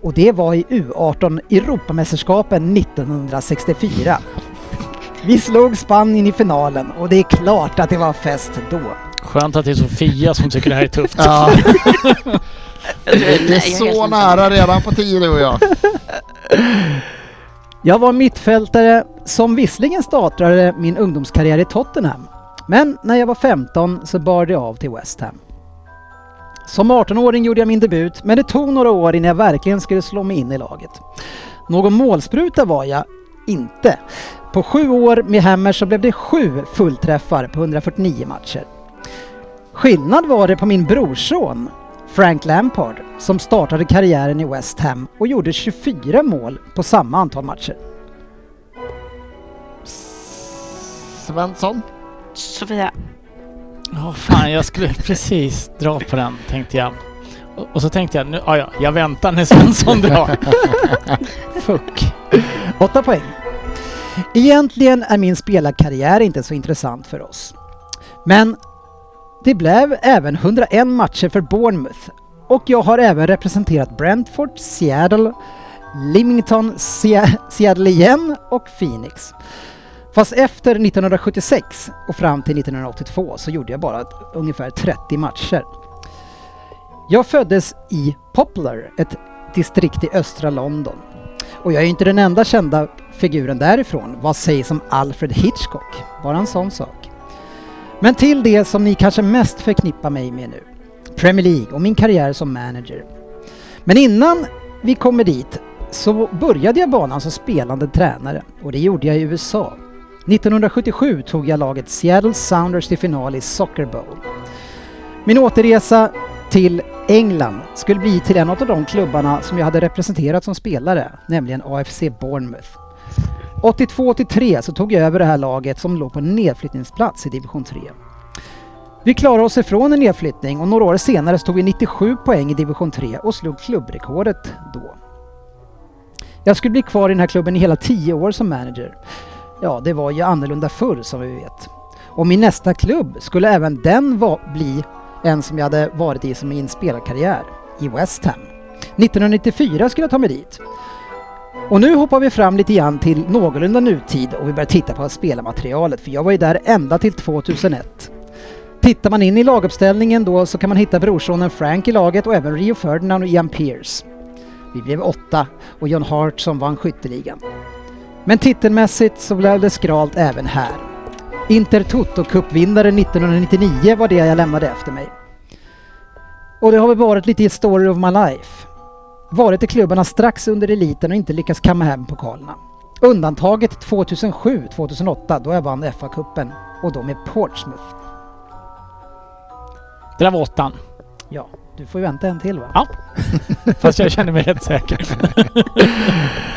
C: Och det var i U18 Europamästerskapen 1964. Vi slog Spanien i finalen och det är klart att det var fest då.
D: Skönt att det är Sofia som tycker det här är tufft.
E: Ja,
G: Jag tror-
E: det
G: nej,
E: är
G: jag helt
E: så
G: ensam.
E: nära redan på tio du och jag.
C: Jag var mittfältare som visserligen startade min ungdomskarriär i Tottenham. Men när jag var 15 så bar det av till West Ham. Som 18-åring gjorde jag min debut, men det tog några år innan jag verkligen skulle slå mig in i laget. Någon målspruta var jag inte. På sju år med Hammers så blev det sju fullträffar på 149 matcher. Skillnad var det på min brorson Frank Lampard som startade karriären i West Ham och gjorde 24 mål på samma antal matcher.
E: Svensson?
G: Sofia,
D: Ja, fan, jag skulle precis dra på den tänkte jag. Och, och så tänkte jag, nu, ja, ja, jag väntar när Svensson drar. Fuck.
C: 8 poäng. Egentligen är min spelarkarriär inte så intressant för oss. Men det blev även 101 matcher för Bournemouth och jag har även representerat Brentford, Seattle, Leamington, Se- Seattle igen och Phoenix. Fast efter 1976 och fram till 1982 så gjorde jag bara ungefär 30 matcher. Jag föddes i Poplar, ett distrikt i östra London. Och jag är ju inte den enda kända figuren därifrån. Vad sägs om Alfred Hitchcock? Bara en sån sak. Men till det som ni kanske mest förknippar mig med nu. Premier League och min karriär som manager. Men innan vi kommer dit så började jag banan som spelande tränare och det gjorde jag i USA. 1977 tog jag laget Seattle Sounders till final i Soccer Bowl. Min återresa till England skulle bli till en av de klubbarna som jag hade representerat som spelare, nämligen AFC Bournemouth. 82-83 så tog jag över det här laget som låg på en nedflyttningsplats i division 3. Vi klarade oss ifrån en nedflyttning och några år senare så tog vi 97 poäng i division 3 och slog klubbrekordet då. Jag skulle bli kvar i den här klubben i hela 10 år som manager. Ja, det var ju annorlunda förr som vi vet. Och min nästa klubb skulle även den va- bli en som jag hade varit i som min spelarkarriär, i West Ham. 1994 skulle jag ta mig dit. Och nu hoppar vi fram lite grann till någorlunda nutid och vi börjar titta på spelarmaterialet för jag var ju där ända till 2001. Tittar man in i laguppställningen då så kan man hitta brorsonen Frank i laget och även Rio Ferdinand och Ian Pearce. Vi blev åtta och John Hart som vann skytteligan. Men titelmässigt så blev det skralt även här. Inter Toto-cupvinnaren 1999 var det jag lämnade efter mig. Och det har väl varit lite story of my life. Varit i klubbarna strax under eliten och inte lyckats kamma hem pokalerna. Undantaget 2007-2008 då jag vann FA-cupen och då med Portsmouth.
D: Det där var åttan.
C: Ja, du får ju vänta en till va?
D: Ja. Fast jag känner mig rätt säker.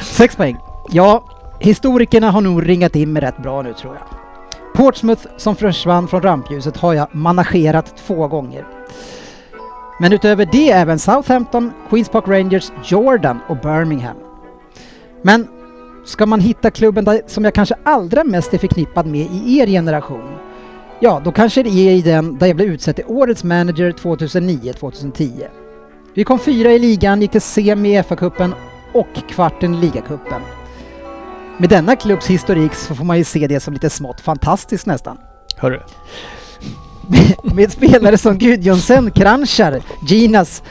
C: Sex poäng. Ja, historikerna har nog ringat in mig rätt bra nu tror jag. Portsmouth som försvann från rampljuset har jag managerat två gånger. Men utöver det även Southampton, Queens Park Rangers, Jordan och Birmingham. Men ska man hitta klubben där, som jag kanske allra mest är förknippad med i er generation? Ja, då kanske det är i den där jag blev utsedd till Årets Manager 2009-2010. Vi kom fyra i ligan, gick till semi i FA-cupen och kvarten i ligacupen. Med denna klubbs historik så får man ju se det som lite smått fantastiskt nästan.
D: Hörru.
C: Med spelare som Gudjonsen, Kranjcar, Ginas,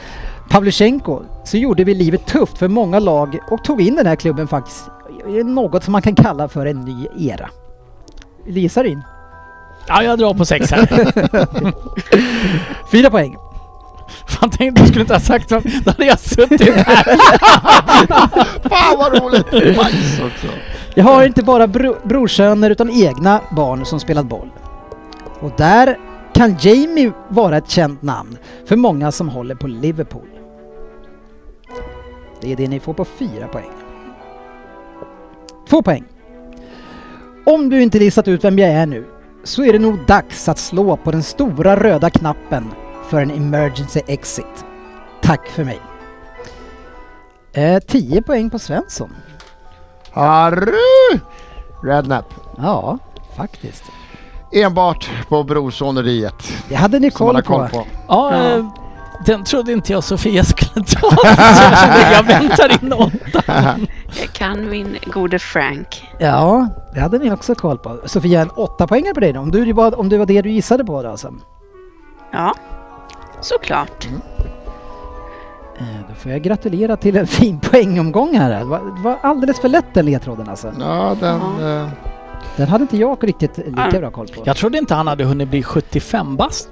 C: Pavlyuchenko så gjorde vi livet tufft för många lag och tog in den här klubben faktiskt i något som man kan kalla för en ny era. Lisa in.
D: Ja, jag drar på sex här.
C: Fyra poäng.
D: Fan, tänkte du skulle inte ha sagt så. Då hade jag suttit här.
E: Fan vad roligt! Bajs också.
C: Jag har inte bara bro- brorsöner utan egna barn som spelat boll. Och där kan Jamie vara ett känt namn för många som håller på Liverpool. Det är det ni får på fyra poäng. Två poäng. Om du inte listat ut vem jag är nu så är det nog dags att slå på den stora röda knappen för en emergency exit. Tack för mig. Eh, 10 poäng på Svensson.
E: Harry! Rednap.
C: Ja, faktiskt.
E: Enbart på brorsoneriet.
C: Det hade ni
E: Som man
C: koll
E: har
C: på.
E: koll på.
D: Ja, eh, den trodde inte jag Sofia skulle ta. Så jag kände, jag väntar in åtta.
G: jag kan min gode Frank.
C: Ja, det hade ni också koll på. Sofia, en åtta poänger på dig då. Om, du var, om det var det du gissade på då alltså.
G: Ja, såklart.
C: Eh, Då får jag gratulera till en fin poängomgång här. Det var, det var alldeles för lätt den ledtråden alltså.
E: Ja, den... eh,
C: Den hade inte jag riktigt lika bra koll på.
D: Jag trodde inte han hade hunnit bli 75 bast.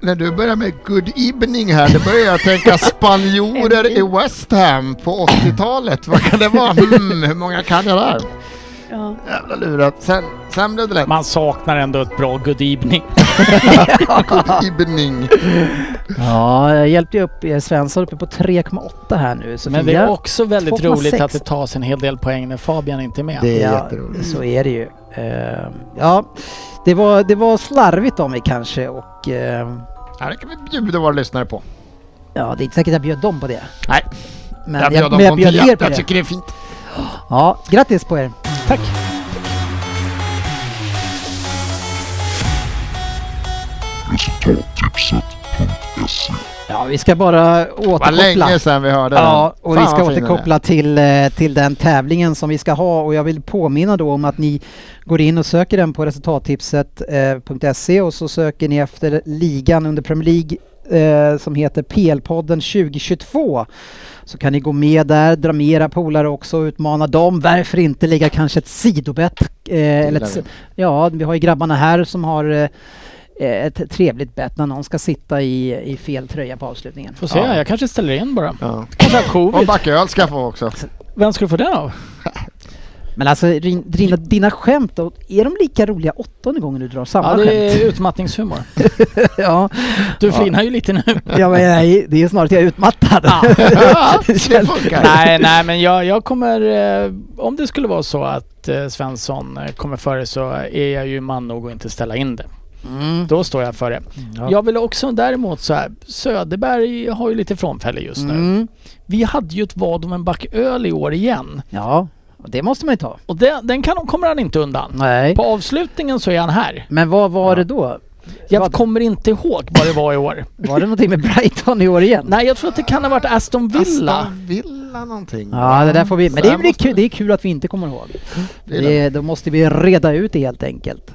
E: när du börjar med good evening här, då börjar jag tänka spanjorer i West Ham på 80-talet. Vad kan det vara? Hmm, hur många kan jag där?
G: Ja.
E: Jävla lurat. Sen, sen blev det lätt.
D: Man saknar ändå ett bra good evening.
E: Good evening.
C: Ja, jag hjälpte ju upp er Svensson uppe på 3,8 här nu. Sofia.
D: Men det är också väldigt
C: 2,6.
D: roligt att det tas en hel del poäng när Fabian inte är med.
E: Det är
C: ja,
E: jätteroligt.
C: Så är det ju. Eh, ja, det var, det var slarvigt av mig kanske och eh,
E: Ja, det kan vi bjuda våra lyssnare på.
C: ja, det är inte säkert att jag bjöd dem på det.
E: Nej,
C: Men
E: jag bjöd dem
C: men
E: på en
C: bjöd er
E: tia.
C: på
E: Jag
C: det.
E: tycker det är fint.
C: Ja, grattis på er.
D: Tack.
C: Ja, vi ska bara
E: Vad
C: återkoppla.
E: länge sedan vi hörde
C: Ja,
E: den.
C: och
E: Fan,
C: vi ska
E: vad fin den är.
C: återkoppla till, eh, till den tävlingen som vi ska ha och jag vill påminna då om att ni går in och söker den på eh, resultattipset.se E och så söker ni efter ligan under Premier League eh, som heter PL-podden 2022. Så kan ni gå med där, dra med era polare också och utmana dem. Varför inte lägga kanske ett sidobett? Eh, eller ett,
E: gillar
C: si- ja, vi har ju grabbarna här som har eh, ett trevligt bett när någon ska sitta i, i fel tröja på avslutningen.
D: Får se, jag kanske ställer in bara.
E: Ja.
D: Kanske har
E: Och
D: covid.
E: backöl ska jag få också.
D: Vem ska du få den av?
C: Men alltså Rin- dina, dina skämt då, är de lika roliga åttonde gången du drar samma
D: Ja, det
C: skämt?
D: är utmattningshumor.
C: ja,
D: Du flinar ju lite nu.
C: ja men nej, det är snarare att jag är utmattad.
E: Ja, det funkar.
D: Nej, nej, men jag, jag kommer... Eh, om det skulle vara så att eh, Svensson eh, kommer före så är jag ju man nog att inte ställa in det.
C: Mm.
D: Då står jag för det.
C: Ja.
D: Jag vill också däremot så här, Söderberg har ju lite frånfälle just nu.
C: Mm.
D: Vi hade ju ett vad om en back öl i år igen.
C: ja, och det måste man ju ta.
D: Och den, den kan, kommer han inte undan.
C: Nej.
D: På avslutningen så är han här.
C: Men vad var det då?
D: Jag
C: Vad-
D: kommer inte ihåg vad det var i år.
C: Var det någonting med Brighton i år igen?
D: Nej, jag tror att det kan ha varit Aston Villa.
E: Aston Villa någonting.
C: Ja, det där får vi... Men
E: Så
C: det
E: här
C: är,
E: måste
C: kul, det är kul att vi inte kommer ihåg.
E: Det är det.
C: Det, då måste vi reda ut det helt enkelt.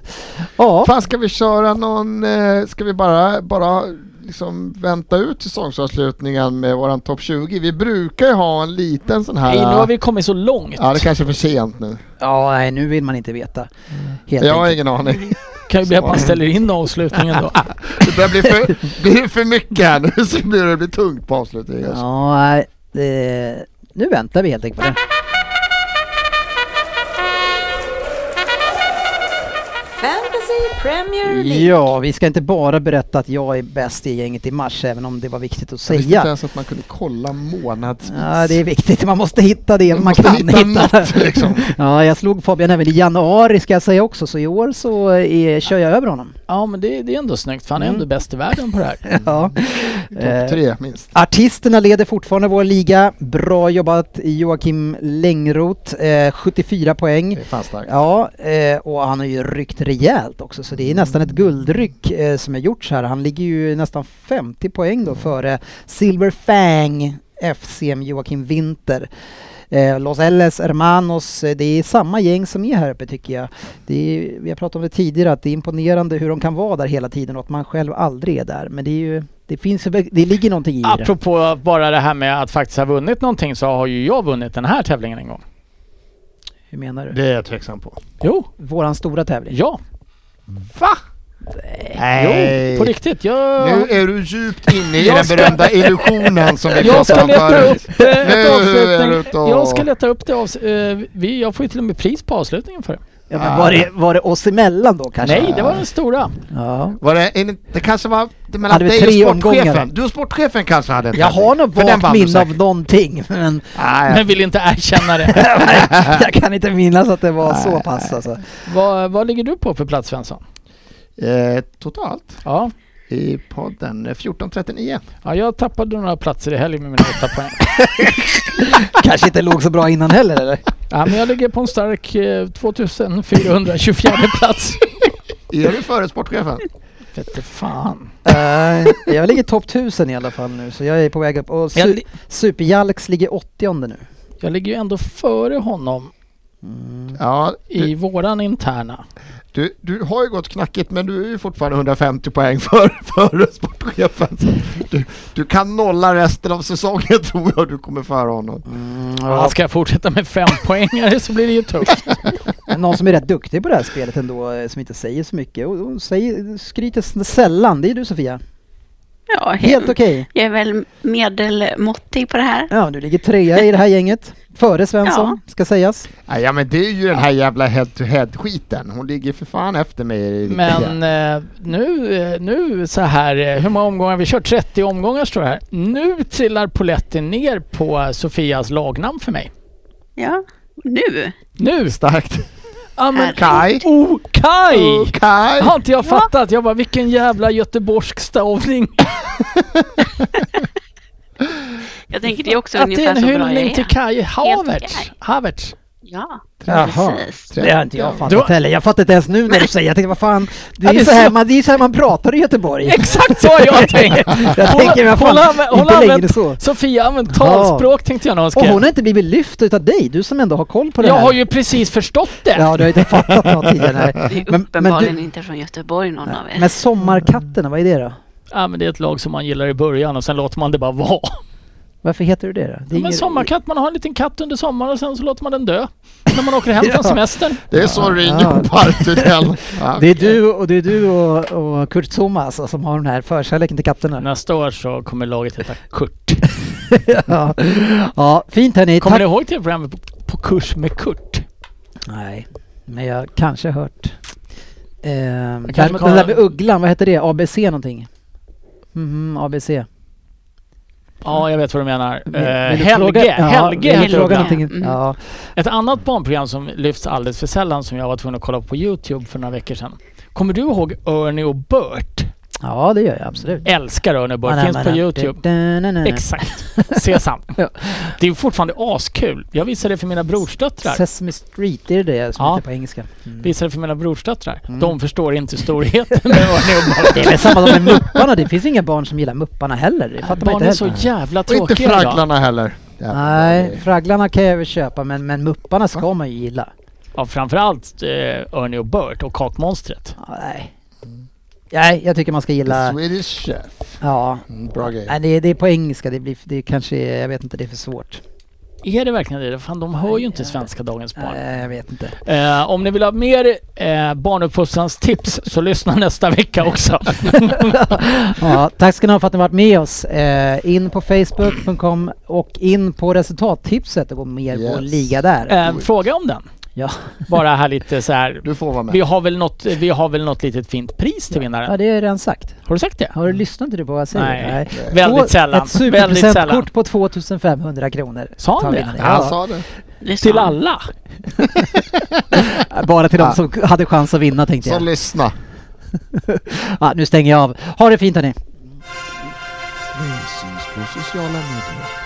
C: Ja,
E: Fan, ska vi köra någon... eh, Ska vi bara, bara liksom vänta ut säsongsavslutningen med våran topp 20? Vi brukar ju ha en liten sån här... eh,
D: Nej, nu har vi kommit så långt.
E: Ja, det kanske är för sent nu.
C: ja nej, nu vill man inte veta. Helt
E: jag har
C: enkelt.
E: ingen aning.
D: kan ju bli att man
E: Så.
D: ställer in avslutningen då.
E: Det börjar bli för, blir för mycket här nu så blir det bli tungt på avslutningen.
C: Ja, nej, det, nu väntar vi helt enkelt på det.
H: Fantasy Premier League.
C: Ja, vi ska inte bara berätta att jag är bäst i gänget i mars, även om det var viktigt att
E: Jag visste inte
C: säga.
E: ens att man kunde kolla månadsvis.
C: Ja, det är viktigt. Man måste hitta det man,
E: måste
C: kan
E: hitta
C: hitta.
E: något, liksom.
C: Ja, jag slog Fabian även i januari ska jag säga också, så i år så eh, är, kör jag över honom.
D: Ja, men det, det är ändå snyggt för han är
C: Mm.
D: ändå bäst i världen på det här.
C: Ja.
D: Eh.
C: Eh,
E: Topp tre minst.
C: Artisterna leder fortfarande vår liga. Bra jobbat Joakim Längroth, eh, 74 poäng.
E: Det är fan starkt.
C: Ja, eh, och han har ju ryckt rejält också så det är nästan ett guldryck eh, som är gjort så här. Han ligger ju nästan 50 poäng då före Silver Fang FC med Joakim Winter. Eh, Los Ellos Hermanos, eh, det är samma gäng som är här uppe tycker jag. Det är, vi har pratat om det tidigare att det är imponerande hur de kan vara där hela tiden och att man själv aldrig är där. Men det är ju, det finns ju, det ligger någonting i det.
D: Apropå bara det här med att faktiskt ha vunnit någonting så har ju jag vunnit den här tävlingen en gång.
C: Hur menar du?
E: Det är jag tveksam på.
D: Jo,
C: Våran stora tävling?
D: ja.
E: Va?
D: Eh, Jo, på riktigt. Jag,
E: Nu är du djupt inne i
D: Jag
E: den
D: ska-
E: berömda illusionen som vi
D: jag
E: pratade
D: ska
E: om
D: leta
E: förut.
D: upp eh, ett
E: Nu är du
D: avslutning.
E: ute och-
D: Jag ska leta upp det avs- eh, vi, Jag får ju till och med pris på avslutningen för det.
C: Ja, men var, det, var det oss emellan då kanske?
E: Alltså-
D: Nej, det var den stora.
C: Ja.
E: Var det, en, det kanske var det mellan
C: Hade vi
E: dig och
C: tre
E: sportchefen?
C: omgångar?
E: Du och sportchefen kanske hade en
C: Jag
E: tävling.
C: har nog
E: För den
C: vagt
E: vann du
C: minne av
E: säkert. Ah,
C: någonting men
E: Nej,
D: Men vill inte erkänna det.
C: jag kan inte minnas att det var så pass alltså.
D: vad, vad ligger du på för plats Svensson?
E: eh, totalt
D: Ja.
E: i podden eh, 1439.
D: ja, jag tappade några platser i helgen med mina åtta poäng.
C: Kanske inte låg så bra innan heller eller?
D: Ja, men jag ligger på en stark eh, 2424 plats.
E: Är du före sportchefen?
D: Vete fan.
C: Eh, jag ligger topp 1000 i alla fall nu så jag är på väg upp. Och
D: Jag
C: su-
D: li-
C: Superjalks ligger 80 nu.
D: Jag ligger ju ändå före honom
E: Ja,
D: i
E: du,
D: våran interna.
E: du, du har ju gått knackigt men du är ju fortfarande 150 poäng före för sportchefen. Så Du, du kan nolla resten av säsongen tror jag du kommer före honom.
D: Mm, Ja. Ska jag fortsätta med fem poängare så blir det ju tufft.
C: Någon som är rätt duktig på det här spelet ändå, eh, som inte säger så mycket och, och säger, skryter s- sällan. Det är du Sofia.
G: Ja,
C: Helt okej.
G: Jag är väl medelmåttig på det här.
C: Ja, du ligger trea i det här gänget. Före Svensson, ska sägas.
E: Nej, Ah, ja men det är ju den här jävla head to head skiten. Hon ligger för fan efter mig. i det
D: Men eh, nu, eh, nu så här, eh, hur många omgångar har vi kört? 30 omgångar står det här. Nu trillar poletten ner på Sofias lagnamn för mig.
G: Ja, nu.
D: Nu!
E: Starkt.
D: Ja men
E: Kai.
D: oh, Kaj!
E: Okej.
D: Har inte jag fattat? Jag bara vilken jävla göteborgsk stavning.
G: Jag tänker det är också
D: Att det är en
G: ungefär så bra jag
D: hyllning till
G: är.
D: Kaj Havertz.
G: okej.
D: Havertz.
G: Ja,
C: Jaha.
G: precis.
C: Det har inte jag fattat
D: Du-
C: heller. Jag fattar inte ens nu när du säger Jag tänkte, vad fan. Det
D: Ja,
C: är
D: det
C: ju
D: är
C: så här
D: så.
C: man, det är så här man pratar i Göteborg.
D: Exakt så har jag tänkt!
C: Jag tänker, men fan, inte längre så.
D: Sofia har använt
C: Ja.
D: talspråk tänkte jag när hon
C: Och
D: skrev.
C: hon har inte blivit lyft utav dig, du som ändå har koll på det
D: Jag
C: här.
D: har ju precis förstått det.
C: Ja, du har ju inte fattat något tidigare.
G: Det
C: nej.
G: är uppenbarligen inte från Göteborg någon av er.
C: men sommarkatterna, vad är det då?
D: Ja, men det är ett lag som man gillar i början och sen låter man det bara vara.
C: Varför heter du det då? Det är
D: Ja, men
C: ingen-
D: sommarkatt, man har en liten katt under sommaren och sen så låter man den dö. När man åker hem från semestern.
E: Det är så Ringo
C: Ja.
E: Partydell. Ja.
C: Det är du och, det är du och, och Kurt Zuma alltså, som har den här förkärleken till katterna.
D: Nästa år så kommer laget heta Kurt.
C: ja. ja, fint hörni.
D: Kommer
C: Tack.
D: ni ihåg tv-programmet på, på kurs med Kurt?
C: Nej, men jag kanske har hört. Ehm,
D: Jag kanske
C: där,
D: kan-
C: Den där med ugglan, vad heter det? ABC någonting? Mhm, ABC.
D: Ja, jag vet vad du menar.
C: Vill-
D: Eh,
C: vill du
D: Helge,
C: fråga- ja,
D: Helge
C: vill du
D: heter
C: fråga
D: ugglan.
C: någonting?
G: Mm.
C: Ja.
D: Ett annat barnprogram som lyfts alldeles för sällan som jag var tvungen att kolla på Youtube för några veckor sedan. Kommer du ihåg Ernie och Bert?
C: ja, det gör jag absolut.
D: Älskar Ernie och Bert,
C: Manana,
D: finns på Youtube.
C: da-da-na-na.
D: Exakt, sesam. Det är fortfarande askul. Jag visade det för mina brorsdöttrar.
C: Sesame Street, är det det som
D: Ja.
C: heter på engelska? Mm.
D: Visade det för mina brorsdöttrar. De förstår inte storheten med Ernie och
C: Det är
D: Bert.
C: väl samma som med Mupparna, det finns ju inga barn som gillar Mupparna heller. Det fattar man
D: Barn
C: inte
D: är så
C: heller.
D: jävla
E: Och inte
D: tråkiga idag.
E: fragglarna heller. Jävlar,
C: Nej,
E: det-
C: fragglarna kan jag väl köpa men, men Mupparna ska man ju gilla.
D: Ja, framförallt eh, Ernie och Bert och Kakmonstret.
C: Ja, nej. nej, jag tycker man ska
E: The
C: gilla...
E: Swedish Chef.
C: Ja,
E: Mm, Bra grej.
C: nej, det, är- det är på engelska, det, blir, det är kanske är- jag vet inte, det är för svårt.
D: Är det verkligen det? Fan, de hör ju inte svenska Dagens Barn.
C: Nej, jag vet inte.
D: Eh, om ni vill ha mer eh, barnuppfostrans tips så lyssna nästa vecka också.
C: Ja, tack ska ni ha för att ni har varit med oss. Eh, in på Facebook.com och in på resultattipset och gå mer på
E: Yes.
C: liga där.
D: Eh, fråga om den.
C: Ja.
D: Bara här lite så här.
E: Du får vara
D: Vi
E: med.
D: har, väl något, vi har väl något litet fint pris till
C: ja,
D: vinnaren?
C: det är redan sagt.
D: Har du sagt det?
E: Mm.
C: Har du lyssnat inte på vad jag säger?
D: Nej. Väldigt
C: Två-
D: sällan.
C: Ett
D: Väldigt sällan.
C: superpresentkort på 2500 kronor.
D: Sa han
C: tar vi
D: det?
C: in.
E: Ja, Han
C: Ja,
E: sa det.
G: Det är så.
D: Till alla?
C: bara till de som hade chans att vinna tänkte
E: Så
C: jag.
E: lyssna.
C: Ja, nu stänger jag av. Ha det fint hörni.
E: Vi syns på sociala medier.